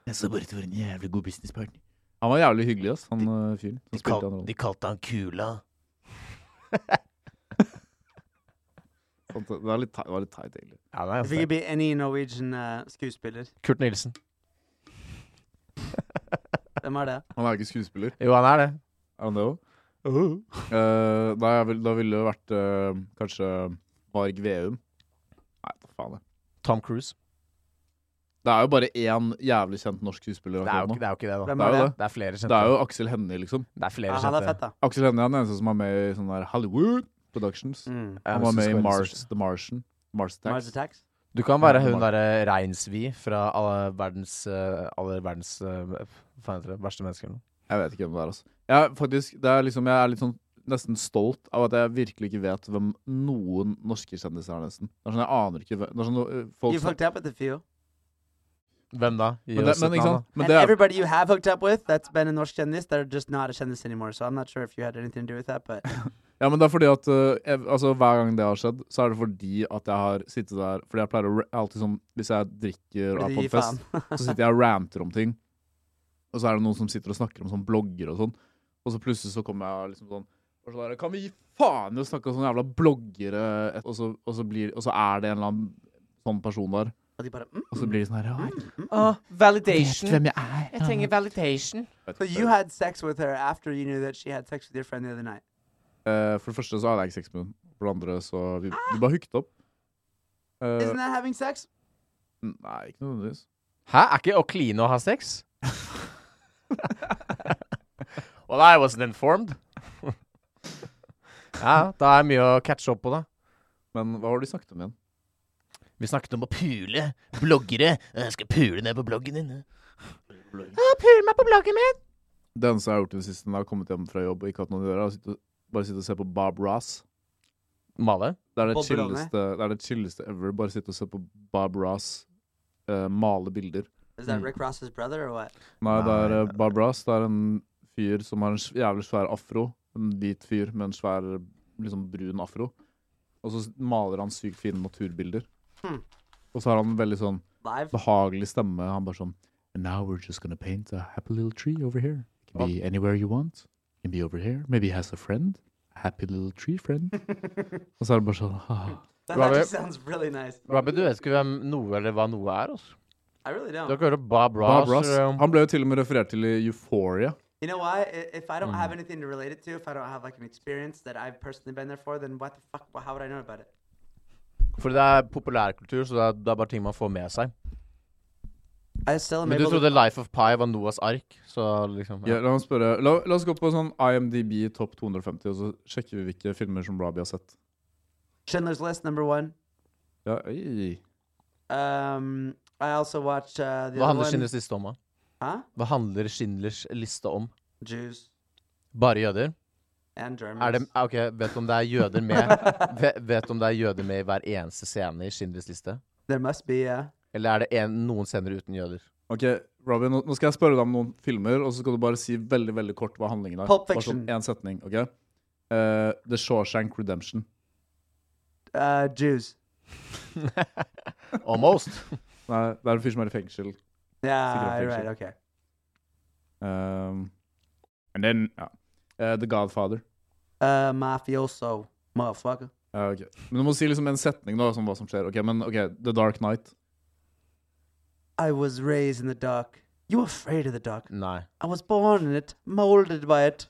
B: Jeg sa bare at du var en jævlig god businesspartner.
A: han var jævlig hyggelig, ass, han eh, fyren. som
B: De,
A: spilte
B: kal
A: han rollen.
B: de kalte han Kula.
A: Sant det. Det var litt teit, det var litt teit egentlig.
B: Ja, det
C: If you could be any Norwegian uh, skuespiller,
B: Kurt Nilsen.
C: hvem er det?
A: Han er jo ikke skuespiller.
B: Jo, han er det.
A: Er han det [laughs] òg? Eh, da, jeg vil, da ville det vært eh, kanskje Varg Veum. Nei, hva faen. Jeg.
B: Tom Cruise.
A: Det er jo bare én jævlig kjent norsk skuespiller.
B: Det er, jo
A: akkurat
B: ikke, det er jo ikke det, da.
C: Hvem
A: Det er
C: er
A: jo
C: det?
A: det.
B: Det er flere
A: nå.
B: kjente.
A: Det er jo Aksel Hennie, liksom.
B: Det er flere
C: Ja, han er fett,
B: kjente.
C: da.
A: Aksel Hennie er den eneste som er med i sånn der Hollywood Productions.
C: Mm. er
A: Han var med i Mars, The Martian. Mars Attacks.
C: Mars Attacks.
B: Du kan være hun
A: Mar-
B: derre Reinsvi fra alle verdens eh, Alle verdens eh, Hva heter det? Verste mennesker eller noe.
A: Jeg vet ikke hvem det er, altså. Jeg er faktisk, det er liksom, jeg er litt sånn nesten stolt av at jeg virkelig ikke vet hvem noen norske kjendiser er, nesten. Det er sånn, jeg aner ikke hvem det er sånn, øh, folk,
C: You've hooked up with a few.
B: Hvem da? Gi
A: men, det,
B: oss et
A: men, ikke
B: navn,
A: sant? men
C: and
A: det er
C: everybody you have hooked up with that's been in Norsk Kendis, they're just not a Kendis anymore. So I'm not sure if you had anything to do with that, but
A: Ja, men det er fordi at øh, jeg, altså, hver gang det har skjedd, så er det fordi at jeg har sittet der Fordi jeg pleier å ra- alltid sånn Hvis jeg drikker og er
C: Fordi du
A: på
C: gir
A: en fest, så sitter jeg og ranter om ting. Og så er det noen som sitter og snakker om sånn blogger og sånn. Og så plutselig så kommer jeg liksom sånn og så der, Kan vi gi faen i å snakke om sånne jævla bloggere? Og så, og, så blir, og så er det en eller annen sånn person der.
C: og de bare, mm.
A: Og så blir de sånn her ja,
E: Vet
F: validation.
E: hvem jeg er?
F: Jeg trenger validation.
A: jeg
C: So
A: vet
C: you
A: ikke.
C: had sex with her after you knew that she had sex with your friend the other night.
A: Eh, For det første så hadde jeg ikke sex med henne. For det andre så Vi, vi bare hooket opp. Eh,
C: Isn't that having sex?
A: nei, ikke nødvendigvis.
B: da. Hæ? Er ikke å kline og ha sex? [laughs] well, I wasn't informed. [laughs] ja, da er mye å catche opp på, da.
A: Men hva var det de snakket om igjen?
B: Vi snakket om å pule bloggere. Jeg skal pule ned på bloggen din.
F: Pul meg på bloggen min.
A: Det eneste jeg har gjort i det siste når jeg har kommet hjem fra jobb og ikke hatt noe å gjøre, er å sitte- bare sitte og se på Bob Ross.
B: Male?
A: Det er det,
C: Bob Dylan,
A: chilleste, det er det chilleste ever. Bare sitte og se på Bob Ross eh, male bilder.
C: Is that
B: Mm.
C: Rick Ross's brother or what?
A: Nei, det er
B: Nei.
A: eh, Bob Ross. Det er en fyr som har en sv- jævlig svær afro. En hvit fyr med en svær, liksom brun afro. Og så s- maler han sykt fine naturbilder.
C: Hmm.
A: Og så har han en veldig sånn
C: Live?
A: behagelig stemme. Han bare sånn And now we're just gonna paint a happy little tree over here. It can be anywhere you want. It can be over here. Maybe he has a friend. A happy little tree friend. og så er det bare sånn [laughs] ah.
C: That
B: Robert?
C: actually sounds really nice.
B: Robin, du vet ikke hvem noe eller hva noe er, altså.
C: I really
B: Du har
C: don't.
B: ikke hørt om Bob Ross?
A: Bob Ross. eh,
B: eller om-
A: Han ble jo til og med referert til i Euphoria.
C: You know why? I- If I don't have anything to relate it to, if I don't have like an experience that I've personally been there for, then what the fuck? Well, how would I know about it?
B: Fordi det er populærkultur, så det er, det er bare ting man får med seg.
C: I still am
B: Men du
C: able
B: trodde
C: to.
B: Life of Pi var Noahs ark, så liksom
A: Ja,
B: ja.
A: la, oss spørre, la, la oss gå på sånn IMDb topp 250, og så sjekker vi hvilke filmer som Robbie har sett.
C: Schindler's List number one.
A: Ja, oi.
C: Um, I also watched uh, the
B: Hva
C: other
B: handler
C: one.
B: Schindlers liste om, da?
C: Huh?
B: Hva handler Schindlers liste om?
C: Jews
B: Bare jøder?
C: and Germans.
B: Er det, ah, ok, Vet du om det er jøder med ve- Vet om det er jøder med i hver eneste scene i Schindlers liste?
C: There must be. Uh,
B: Eller er det en, noen scener uten jøder?
A: Ok, Robbie, nå, nå skal jeg spørre deg om noen filmer, og så skal du bare si veldig veldig kort hva handlingen er.
C: Pulp
A: Bare
C: Fiction.
A: Sånn, en setning, ok? Eh, The Shawshank Redemption.
C: uh, Jews.
B: Almost.
A: Nei, det er en fyr som er i fengsel.
C: Yeah,
A: Cigarette
C: right.
A: fiction.
C: Okay.
A: Um, and then, ja. Eh, The Godfather.
C: Uh, mafioso, motherfucker.
A: Ja, ok. Men du må si liksom en setning da, som hva som skjer. Ok, men ok, The Dark Knight.
C: I was raised in the dark. You afraid of the dark?
B: Nei.
C: I was born in it, molded by it.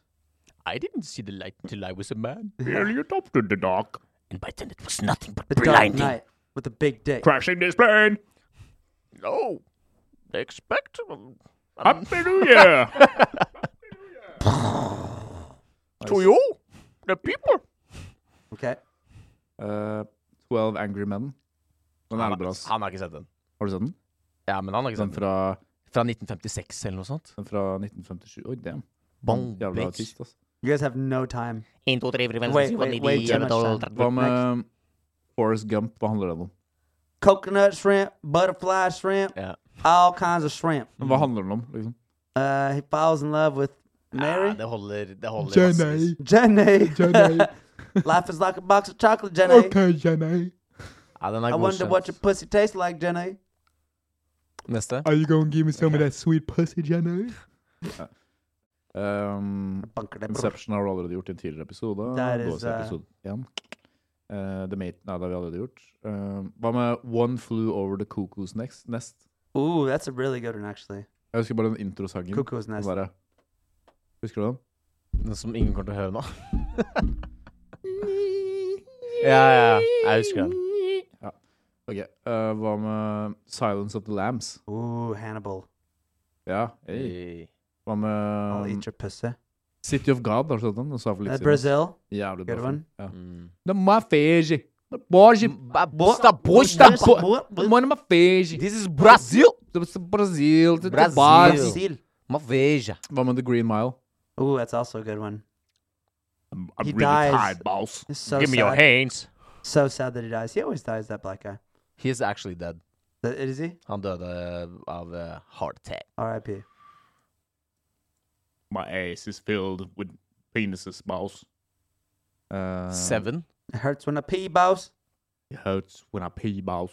B: I didn't see the light until I was a man.
A: Nearly adopted the dark.
B: And by then it was nothing but
C: The Dark Knight with a big dick.
A: Crashing this plane.
B: No. They expect.
A: Happy New Year!
B: To you, the people.
C: Okay.
A: [laughs] Eh, 12 Angry Men. Den er
B: Han,
A: litt bra. ass.
B: han har ikke sett den.
A: Har du sett den?
B: Ja, men han har ikke
A: Den
B: sett den.
A: fra,
B: Fra 1956 eller noe sånt.
A: den fra 1957. Oi, damn.
B: Bong,
A: Jævla
B: bitch.
A: artist, ass.
C: You guys have no time.
F: 1, 2, 3, 4, 5, 6,
C: Wait,
F: 7, 8,
C: wait,
F: 9,
C: wait,
F: 10, 11, 12, 13,
A: Hva med Forrest Gump? Hva handler den om?
C: Coconut shrimp, butterfly shrimp,
B: Ja.
C: all kinds of shrimp.
A: Hva handler den om, liksom?
C: Uh, he falls in love with
B: Ja,
C: Mary.
B: det holder. Det holder massevis.
C: Jenny. [laughs] Life is like a box of chocolate, Jenny.
D: Jenny.
B: Ja, den
C: I
B: er
C: wonder what your
B: godkjent.
C: pussy tastes like, Jenny.
B: Neste.
D: Are you gonna give me some of that sweet pussy, Jenny?
A: Um,
C: Bunker det, bror.
A: Inception har du allerede gjort i en tidligere episode.
C: Der
A: Gå
C: is,
A: og se
C: uh,
A: episode én. Eh, The Mate Nei, det har vi allerede gjort. Eh, hva med One Flew Over The Cuckoo's Next? Nest?
C: Ooh, that's a really good one, actually.
A: Jeg husker bare den introsangen.
C: Cuckoo's
A: Den
C: Nest.
A: derre- Husker du den?
B: Den som ingen kommer til å høre nå. [laughs] ja, ja. Jeg husker den.
A: Ok, eh, Hva med Silence of the Lambs?
C: Ooh, Hannibal.
A: Ja. Hey. Hva med
C: I'll
A: um,
C: eat your pussy.
A: City of God? Har du sett den? Den sa jeg for litt
C: That
A: siden.
C: Brazil.
A: Jævlig bra
C: Good
A: film.
C: one.
A: Ja.
B: Mm.
A: The Mafege. The Borge.
B: Bosta, bosta, bo-
A: The Mona Mafege.
B: This is Brazil!
A: The Brazil. The
B: Brazil.
A: Bars.
C: Brazil.
B: Uma veja.
A: Hva med The Green Mile?
C: Ooh, that's also a good one.
A: I'm,
C: He dies.
A: boss.
C: It's so sad.
B: hands.
C: So sad that he dies. He always dies, that black guy.
B: He is actually dead.
C: Th- Is he?
B: Han døde av eh, heart attack.
C: R.I.P.
A: My ass is filled with penises, boss.
B: Eh.
A: Uh,
B: Seven.
C: It hurts when a pee bows.
A: It hurts when I pee, boss.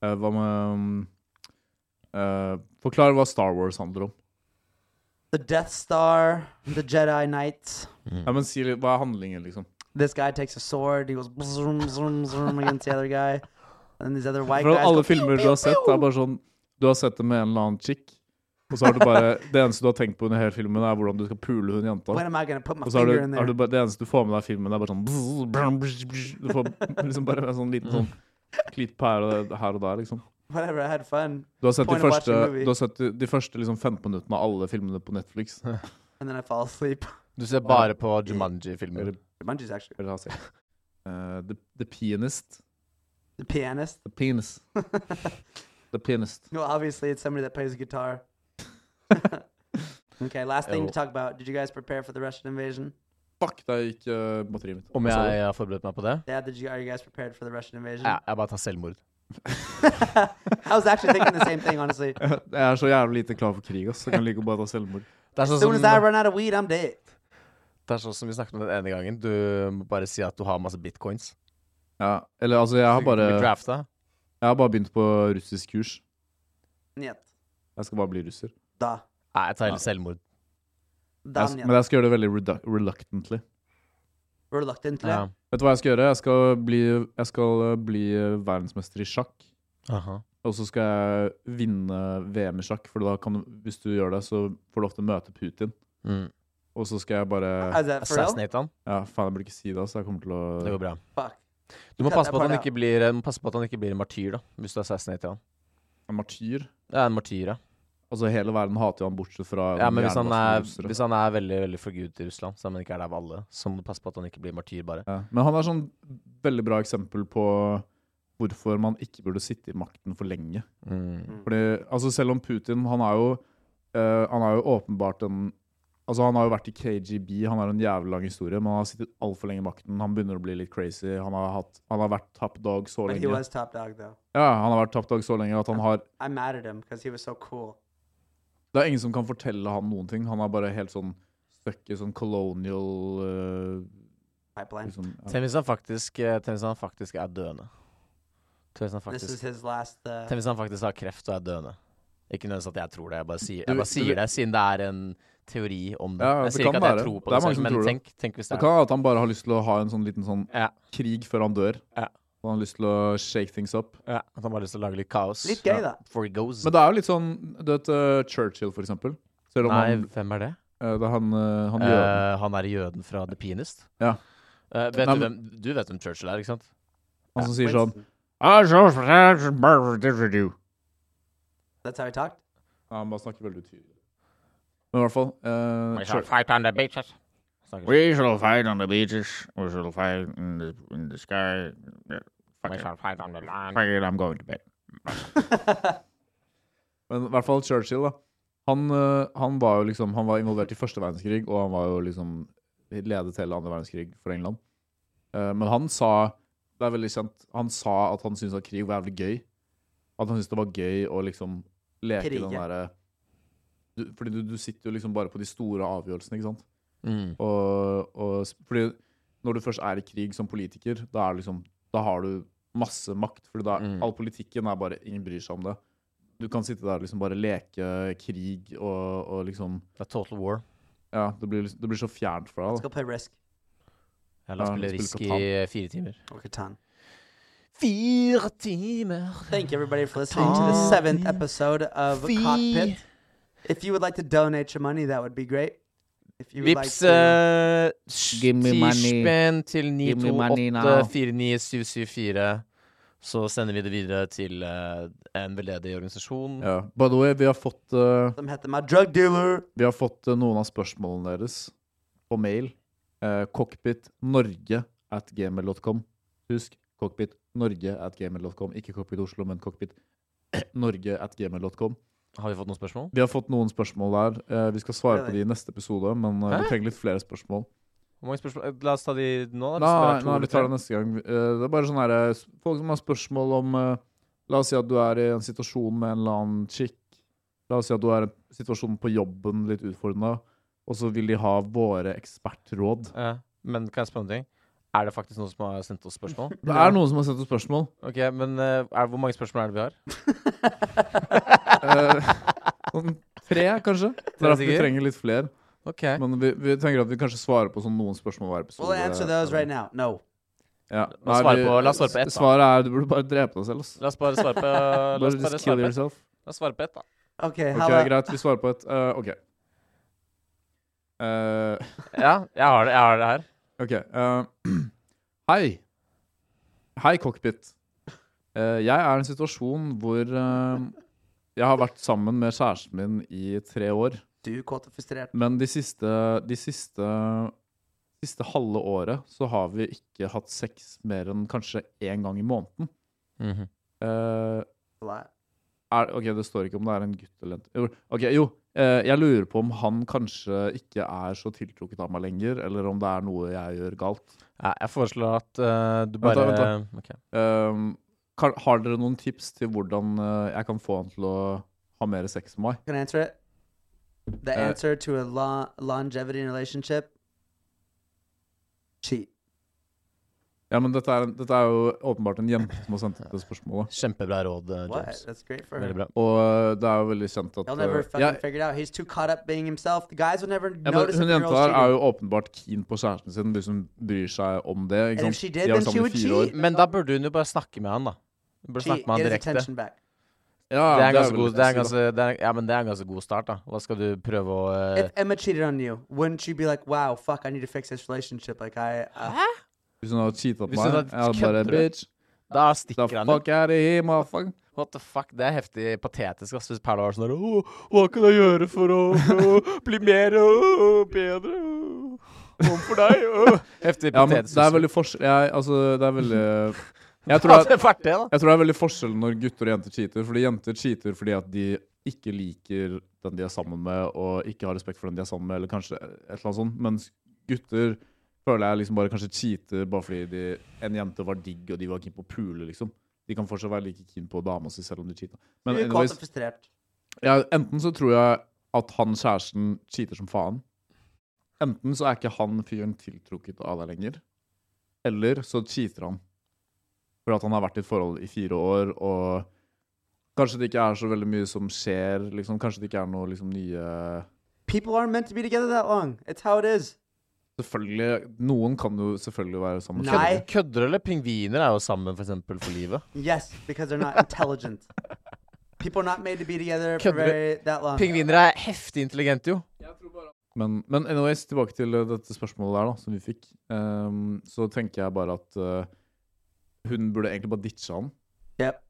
A: Uh, hva med um, uh, Forklar hva Star Wars handler om.
C: The Death Star, the Jedi Knights.
B: Mm.
A: Ja, men si litt, Hva er handlingen, liksom?
C: This guy takes a sword. He goes bzzrum, bzzrum, bzzrum against the other guy. And these other white
A: For
C: guys.
A: alle
C: Go,
A: filmer du har sett, det er bare sånn Du har sett det med en eller annen chick, og så har du bare Det eneste du har tenkt på under hele filmen, er hvordan du skal pule hun jenta.
C: when am I going to put my
A: Og så har
C: finger in
A: du, har
C: there?
A: du bare, det eneste du får med deg i filmen, er bare sånn bzz, brum, bzz, bzz. Du får [laughs] liksom bare en sånn liten sånn klipp her og, her og der, liksom.
C: [laughs] Whatever, I had fun.
A: Du har sett, de
C: Point of
A: første,
C: watching movie.
A: du har sett de- de første liksom 15 minuttene av alle filmene på Netflix.
C: And then I fall asleep.
B: Du ser bare på Jumanji-filmer.
A: Eller-
C: Munchie's actually
A: Eller hva sier jeg? Eh, the, the Pianist.
C: the pianist.
A: The
C: [laughs]
A: Penis. The Pianist.
C: Well, obviously, it's somebody that
B: [laughs]
C: plays guitar. okay, last thing
B: Oh.
C: to talk about. Did you guys prepare for the Russian invasion?
A: Fuck, der gikk eh, batteriet mitt.
B: Om
A: Hva sa
B: jeg
A: du?
B: har forberedt meg på det?
C: Yeah, did you, are you guys prepared for the Russian invasion?
B: Ja, jeg bare tar [laughs] selvmord. Ah.
C: [laughs] I was actually thinking the same thing,
B: [laughs]
C: honestly.
A: [laughs] Jeg er så jævlig lite klar for krig, ass. Jeg kan like å bare ta selvmord.
B: Det er
C: As
B: sånn
C: soon as I
B: som,
C: run out of weed, I'm dead.
B: det er sånn som vi snakket om den ene gangen. Du må bare si at du har masse bitcoins.
A: Ja, eller altså, jeg har bare,
B: Du blir drafta.
A: jeg har bare begynt på russisk kurs.
C: Нет.
A: Jeg skal bare bli russer.
C: Да.
B: Nei, jeg tar heller selvmord.
C: Да,
A: Jeg, s-
C: нет.
A: men jeg skal gjøre det veldig redu- reluctantly.
C: Reluctantly.
B: Ja.
A: Vet du hva jeg skal gjøre? Jeg skal bli, jeg skal eh, bli verdensmester i sjakk.
B: Aha.
A: Og så skal jeg vinne VM i sjakk, for da kan, du- hvis du gjør det, så får du ofte møte Putin.
B: Mm.
A: Og så skal jeg bare
C: Is
B: uh,
C: that for real?
B: Assassinate han.
A: Ja, faen, jeg burde ikke si det, altså. Jeg kommer til
B: Det
A: å
B: går bra.
C: Fuck.
B: Du må
C: Cut
B: passe
C: that
B: på at han
C: part
B: ikke blir, må passe på at han ikke blir en martyr, da. Hvis du assassinater han.
A: En martyr.
B: Ja, en martyr, ja.
A: Altså, hele verden hater jo han, bortsett fra
B: ja men hvis han,
A: jernbasen
B: er,
A: og russere.
B: hvis han er veldig veldig forgudet i Russland, så han ikke er der av alle, så må du passe på at han ikke blir martyr, bare.
A: ja. Men han er sånn veldig bra eksempel på hvorfor man ikke burde sitte i makten for lenge.
B: Mm.
A: Fordi, altså selv om Putin, han er jo, eh, han er jo åpenbart en Altså Han har jo vært i KGB, han har en jævlig lang historie, men han har sittet altfor lenge i makten. Han begynner å bli litt crazy. Han har, hatt, han har vært top dog så
C: But he
A: lenge.
C: was top dog, though.
A: Ja, han har vært top dog så lenge at han har
C: I'm mad at him because he was so cool.
A: Det er ingen som kan fortelle han noen ting. Han er bare helt sånn stuck i sånn colonial eh,
C: Pipeline.
A: liksom, ja.
B: Tenk hvis han faktisk eh, Tenk hvis han faktisk er døende. Tenk hvis han
C: This is
B: faktisk,
C: his last. Uh,
B: tenk hvis han faktisk har kreft og er døende. Ikke nødvendigvis at jeg tror det, jeg bare sier,
A: Du-
B: jeg bare
A: du-
B: sier det siden det er en teori om det.
A: Ja,
B: jeg
A: det
B: sier
A: kan
B: ikke at jeg
A: være.
B: tror
A: Det
B: på det,
A: er mange som
B: selv, men
A: tror det.
B: tenk, tenk hvis det
A: Det
B: er
A: kan være at han bare har lyst til å ha en sånn liten sånn
B: Ja.
A: krig før han dør.
B: Ja.
A: Han har lyst til å shake things up.
B: ja, At han bare har lyst til å lage litt kaos.
C: litt gøy, da.
B: Before he goes.
A: Men det er jo litt sånn Du vet eh, Churchill, for eksempel. Selv om
B: Nei,
A: han
B: hvem er det?
A: Eh, Det er han, eh, han gjør det.
B: Eh, han er jøden fra The Pianist.
A: Ja.
B: Eh, vet
A: Nei,
B: du, hvem,
A: men-
B: du vet hvem Churchill er, ikke sant?
A: Han som sier sånn
C: Winston.
A: «Ah, so sad, it's better to do».
C: That's how he talked?
A: Ja, Han bare snakker veldig tydelig. Men i hvert fall eh, Tra-
F: fight on the beaches.
G: We shall fight on the beaches. We shall fight in the in the sky. Yeah, Fuck it.
F: fight on the land.
G: Fuck it, I'm going to bed.
A: Men i hvert fall Churchill, da. Han, eh, han var jo liksom Han var involvert i første verdenskrig, og han var jo liksom ledet hele andre verdenskrig for England. Eh, men han sa Det er veldig kjent Han sa at han syntes at krig var jævlig gøy. At han syntes det var gøy å liksom leke
C: Krige.
A: den derre du, Fordi du, du sitter jo liksom bare på de store avgjørelsene, ikke sant?
B: Mm.
A: Og, og s- fordi når du først er i krig som politiker, da er det liksom Da har du masse makt. Fordi da
B: Mm.
A: all politikken er bare Ingen bryr seg om det. Du kan sitte der og liksom bare leke krig og, og liksom
B: Det er Total War.
A: Ja, det blir, liksom- det blir så fjernt fra
C: Let's
A: deg.
C: go
A: da.
C: play Risk
B: Ja, la oss
A: Ja,
B: spille
A: spille
B: Risk i
A: Catan.
B: eh, fire timer.
C: or Catan.
B: Fire timer!
C: Thank you, everybody, for listening to the seventh episode of Cockpit. If you would like to donate your money, that would be great. If you would like
B: Vips
C: to,
B: eh,
E: Give me
B: 10
E: money.
B: spenn til
E: Give me money
B: 928-49774. Så sender vi det videre til eh, en veldedig organisasjon.
A: Ja. By the way, vi har fått, eh,
C: them hit them, my drug dealer.
A: vi har fått eh, noen av spørsmålene deres på mail. Uh, cockpitnorge at gmail.com. Husk cockpitnorge at gmail.com. Ikke Cockpit Oslo, men cockpit [clears throat] norge at gmail.com.
B: Har vi fått noen spørsmål?
A: Vi har fått noen spørsmål der. Eh, vi skal svare på de i neste episode, men eh,
B: Hæ?
A: vi trenger litt flere spørsmål.
B: Hvor mange spørsmål? eh, La oss ta de nå.
A: Nei,
B: da, hvis det er to liksom.
A: nei,
B: eller
A: vi tar
B: tre.
A: det neste gang. Eh, det er bare sånn her, eh, s- Folk som har spørsmål om eh, La oss si at du er i en situasjon med en eller annen chick. La oss si at du er i en situasjon på jobben litt utfordrende, og så vil de ha våre ekspertråd.
B: Ja, men kan jeg spørre om en ting? Er det faktisk noen som har sendt oss spørsmål?
A: Det er noen som har sendt oss spørsmål.
B: Ok, men eh, er, Hvor mange spørsmål er det vi har?
A: Eh, [laughs] sånn tre, kanskje. Det er at vi
B: sikkert?
A: trenger litt flere.
B: Ok
A: Men vi, vi tenker at vi kanskje svarer på sånn noen spørsmål hver episode.
C: We'll answer those right now. No.
A: Ja.
B: La oss
A: Nei,
B: svare
A: vi-
B: på- la oss svare på ett, da.
A: Svaret er du burde bare drepe deg selv. Ass.
B: La oss bare svare [laughs] på La oss
A: Bare
B: bare
A: just kill
B: svare på ett.
A: yourself.
B: La oss svare på ett, da.
C: Okay, how
A: Ok,
C: about
A: Greit, vi svarer på ett. Eh, ok. Eh,
B: Ja, jeg har det, jeg har det her.
A: ok. eh, [clears throat] hei. Hei, cockpit. Eh, jeg er i en situasjon hvor eh, jeg har vært sammen med kjæresten min i tre år.
C: du kåt og frustrert?
A: Men de siste, de siste, siste halve året så har vi ikke hatt sex mer enn kanskje én gang i måneden.
B: Mhm.
A: Eh,
C: A lot.
A: er, ok, det står ikke om det er en gutt eller en jo, Ok, jo. eh, jeg lurer på om han kanskje ikke er så tiltrukket av meg lenger, eller om det er noe jeg gjør galt.
B: Ja, jeg foreslår at eh, du
A: Vent
B: bare
A: da, vent
B: Ok.
A: Um, kan, har dere noen tips til hvordan eh, jeg kan få han til å ha mer sex med meg?
C: Can I answer it? The
A: Uh,
C: answer to a lo- longevity in a relationship? Cheat.
A: Ja, men dette er, en- dette er jo åpenbart en jente som har sendt inn det spørsmålet.
B: Kjempebra råd, eh,
C: What?
B: James.
C: That's great for
B: Veldig
C: her.
B: bra.
A: Og eh, det er jo veldig kjent at
C: He'll never
A: eh,
C: fucking
A: jeg-
C: figure it out. He's too caught up being himself. The guys will never
A: ja, men
C: notice if
A: Hun
C: a
A: jenta
C: girl's
A: her er
C: cheating.
A: jo åpenbart keen på kjæresten sin, hvis hun bryr seg om det. Ikke
C: And
A: sant?
C: if she did,
A: De har
C: then
A: vært
C: she
A: sammen i
C: would
A: fire år.
C: cheat.
B: Men da burde hun jo bare snakke med han, da. Hun burde
C: Cheat.
B: snakke med
C: Get
B: han
C: his
B: direkte.
C: attention back.
A: Ja,
B: Det er en
A: vel
B: ganske god,
A: det
B: det er
A: jeg sier, da.
B: en ganske, det er, ja, men det er en ganske god start, da. Hva skal du prøve å eh,
F: Uh,
C: If Emma cheated on you, wouldn't you be like, wow, fuck, I need to fix this relationship? Like, I. Uh,
A: Hvis hun hadde cheata på
B: Hvis hun
A: meg,
B: hadde-
A: jeg hadde bare
B: Kødder du?
A: bitch.
B: Da
A: The
B: stikker han jo.
A: Sånn, fuck out of here, motherfucker.
B: What the fuck? Det er heftig patetisk ass, hvis Paula var sånn der «Åh, Hva kan jeg gjøre for å, å bli mer og bedre åh, overfor deg? åh?» [laughs] Heftig
A: Ja, men
B: patetisk.
A: det er veldig forskjell jeg, altså, det er veldig jeg tror,
B: Hadde
A: at,
B: det vært det, da?
A: jeg tror det er veldig forskjell når gutter og jenter cheater. Fordi jenter cheater fordi at de ikke liker den de er sammen med, og ikke har respekt for den de er sammen med, eller kanskje et eller annet sånt. Mens gutter føler jeg liksom bare kanskje cheater bare fordi de, en jente var digg, og de var keen på å pule, liksom. De kan fortsatt være like keen på dama si selv om de cheata. Men
C: you're caught
A: anyways,
C: and frustrated.
A: ja, enten så tror jeg at han kjæresten cheater som faen. Enten så er ikke han fyren tiltrukket av deg lenger. Eller så cheater han. For at han har vært i et forhold i fire år, og kanskje det ikke er så veldig mye som skjer. Liksom. Kanskje det ikke er noe liksom, nye
C: People aren't meant to be together that long. It's how it is.
A: Selvfølgelig, Noen kan jo selvfølgelig være sammen.
C: Nei.
A: selv.
B: Kødder du, eller? Pingviner er jo sammen, for eksempel, for livet.
C: Yes, because they're not
F: [laughs]
C: intelligent. People are not made to be together for
B: Kødder du?
C: very, that long.
B: Pingviner er heftig intelligente, jo.
A: Men, men anyways, tilbake til eh, dette spørsmålet der da, som vi fikk. Ehm, så tenker jeg bare at eh, hun burde egentlig bare ditche han.
C: Yep.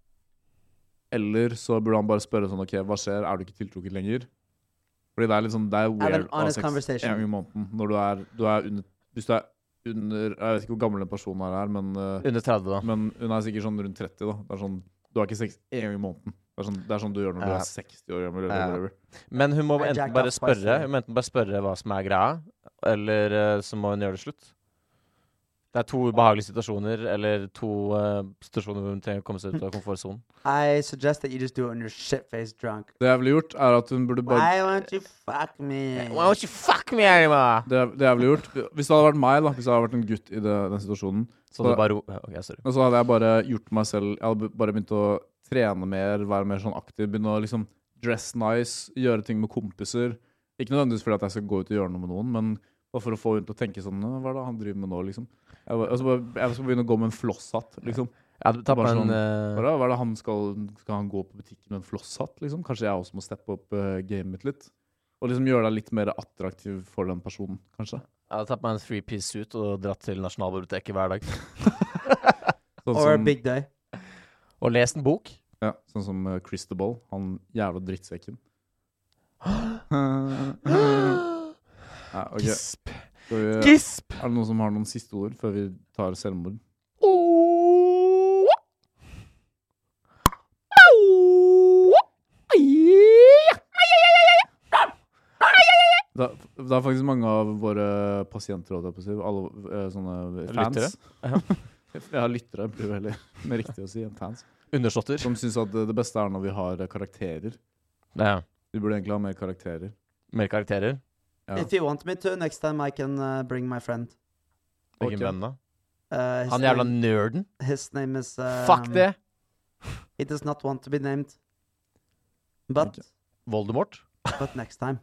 A: Eller så burde han bare spørre sånn OK, hva skjer? Er du ikke tiltrukket lenger? Fordi det er litt sånn, det er weird
C: an honest
A: å ha sex
C: conversation.
A: en gang i måneden når du er, du er under Hvis du er under Jeg vet ikke hvor gammel den personen her er, men, eh,
B: Under 30, da.
A: men hun er sikkert sånn rundt 30. da Det er sånn, Du har ikke sex en gang i måneden. Det er sånn, det er sånn du gjør når du
B: Ja.
A: er 60 år gammel.
B: Ja.
A: Eller whatever.
B: Men hun må
C: Jeg
B: enten
C: jacked
B: bare
C: off twice
B: spørre
C: today.
B: Hun må enten bare spørre hva som er greia, eller eh, så må hun gjøre det slutt. Det er to ubehagelige situasjoner, eller to eh, situasjoner hvor hun trenger å komme seg ut [laughs] av komfortsonen.
C: I suggest that you just do it when you're shit faced drunk.
A: Det jeg ville gjort, er at hun burde bare
C: Why won't you fuck me?
F: Why don't you fuck me anymore?
A: det, det jeg ville gjort Hvis det hadde vært meg, da hvis jeg hadde vært en gutt i det, den situasjonen,
B: Så det bare ja, OK, sorry.
A: Men så hadde jeg bare gjort meg selv Jeg hadde bare begynt å trene mer, være mer sånn aktiv, begynne å liksom dress nice, gjøre ting med kompiser. Ikke nødvendigvis fordi at jeg skal gå ut og gjøre noe med noen, men bare for å få henne til å tenke sånn Hva er det han driver med nå, liksom? Jeg, bare, altså bare, jeg skal begynne å gå med en flosshatt, liksom.
B: Jeg hadde tatt
A: Bare
B: meg en
A: sånn,
B: eh,
A: Hva er det han skal, skal han gå på butikken med en flosshatt, liksom? Kanskje jeg også må steppe opp eh, gamet mitt litt? Og liksom gjøre deg litt mer attraktiv for den personen, kanskje.
B: Jeg hadde tatt meg en three piece suit og dratt til Nasjonalbiblioteket hver dag.
A: Sånn
C: Or a
A: som-
C: big day.
B: Og lest en bok.
A: Ja, sånn som eh, Chris the Ball. Han jævla
B: [gasps]
A: drittsekken. [gasps] ja, ok.
B: Gisp.
A: Skal vi,
B: Gisp!
A: er det noen som har noen siste ord før vi tar selvmord?
B: Oh.
A: Det er, det er faktisk mange av våre pasienter, holdt jeg på å si, alle eh, sånne fans [laughs] Ja, lyttere blir vel mer riktig å si enn fans.
B: Undersåtter.
A: Som syns at eh, det beste er når vi har eh, karakterer.
B: Ja.
A: Vi burde egentlig ha mer karakterer.
B: Mer karakterer.
F: Oh.
A: Ja.
C: If you want me to, next time I can uh, bring my friend.
B: Hvilken
A: Ok.
B: venn da?
C: Uh, his,
B: Han jævla
C: name,
B: nerden.
C: his name is. Um,
B: Fuck det!
C: He does not want to be named.
F: [laughs]
C: But,
B: Voldemort.
C: but next time.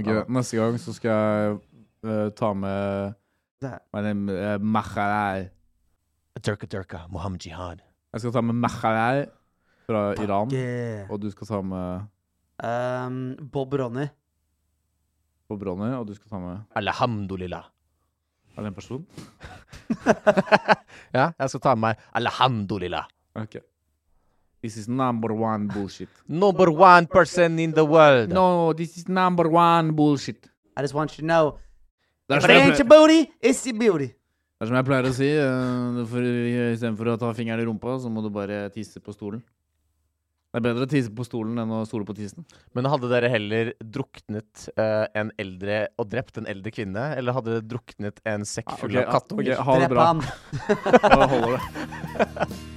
A: Ok, Neste gang så skal jeg eh, ta med
C: Det her.
A: My name, eh, Mahalai.
B: Durka Durka, Mohammed Jihad.
A: Jeg skal ta med Mahalai fra Iran.
C: Yeah.
A: Og du skal ta med
C: Um, Bob Ronny.
A: Bobroni, og du skal ta med
B: Alhamdulillah.
A: Er det en person?
B: [laughs] ja, jeg skal ta med meg Alhamdulillah.
A: Ok. This is number one bullshit.
B: Number one person in the world.
A: No, this is number one bullshit.
C: I just want you to know.
A: Det er
C: If
A: som
C: it
A: jeg
C: ain't your
A: pleier,
C: booty, it's your beauty.
A: det er som jeg pleier å si. eh, For Istedenfor å ta fingeren i rumpa, så må du bare tisse på stolen. Det er bedre å tisse på stolen enn å stole på tissen.
B: Men hadde dere heller druknet eh, en eldre og drept en eldre kvinne, eller hadde
A: Ah,
B: dere druknet en sekk full av kattunger?
A: ha det
C: Drep
A: bra.
C: han.
A: Da holder det.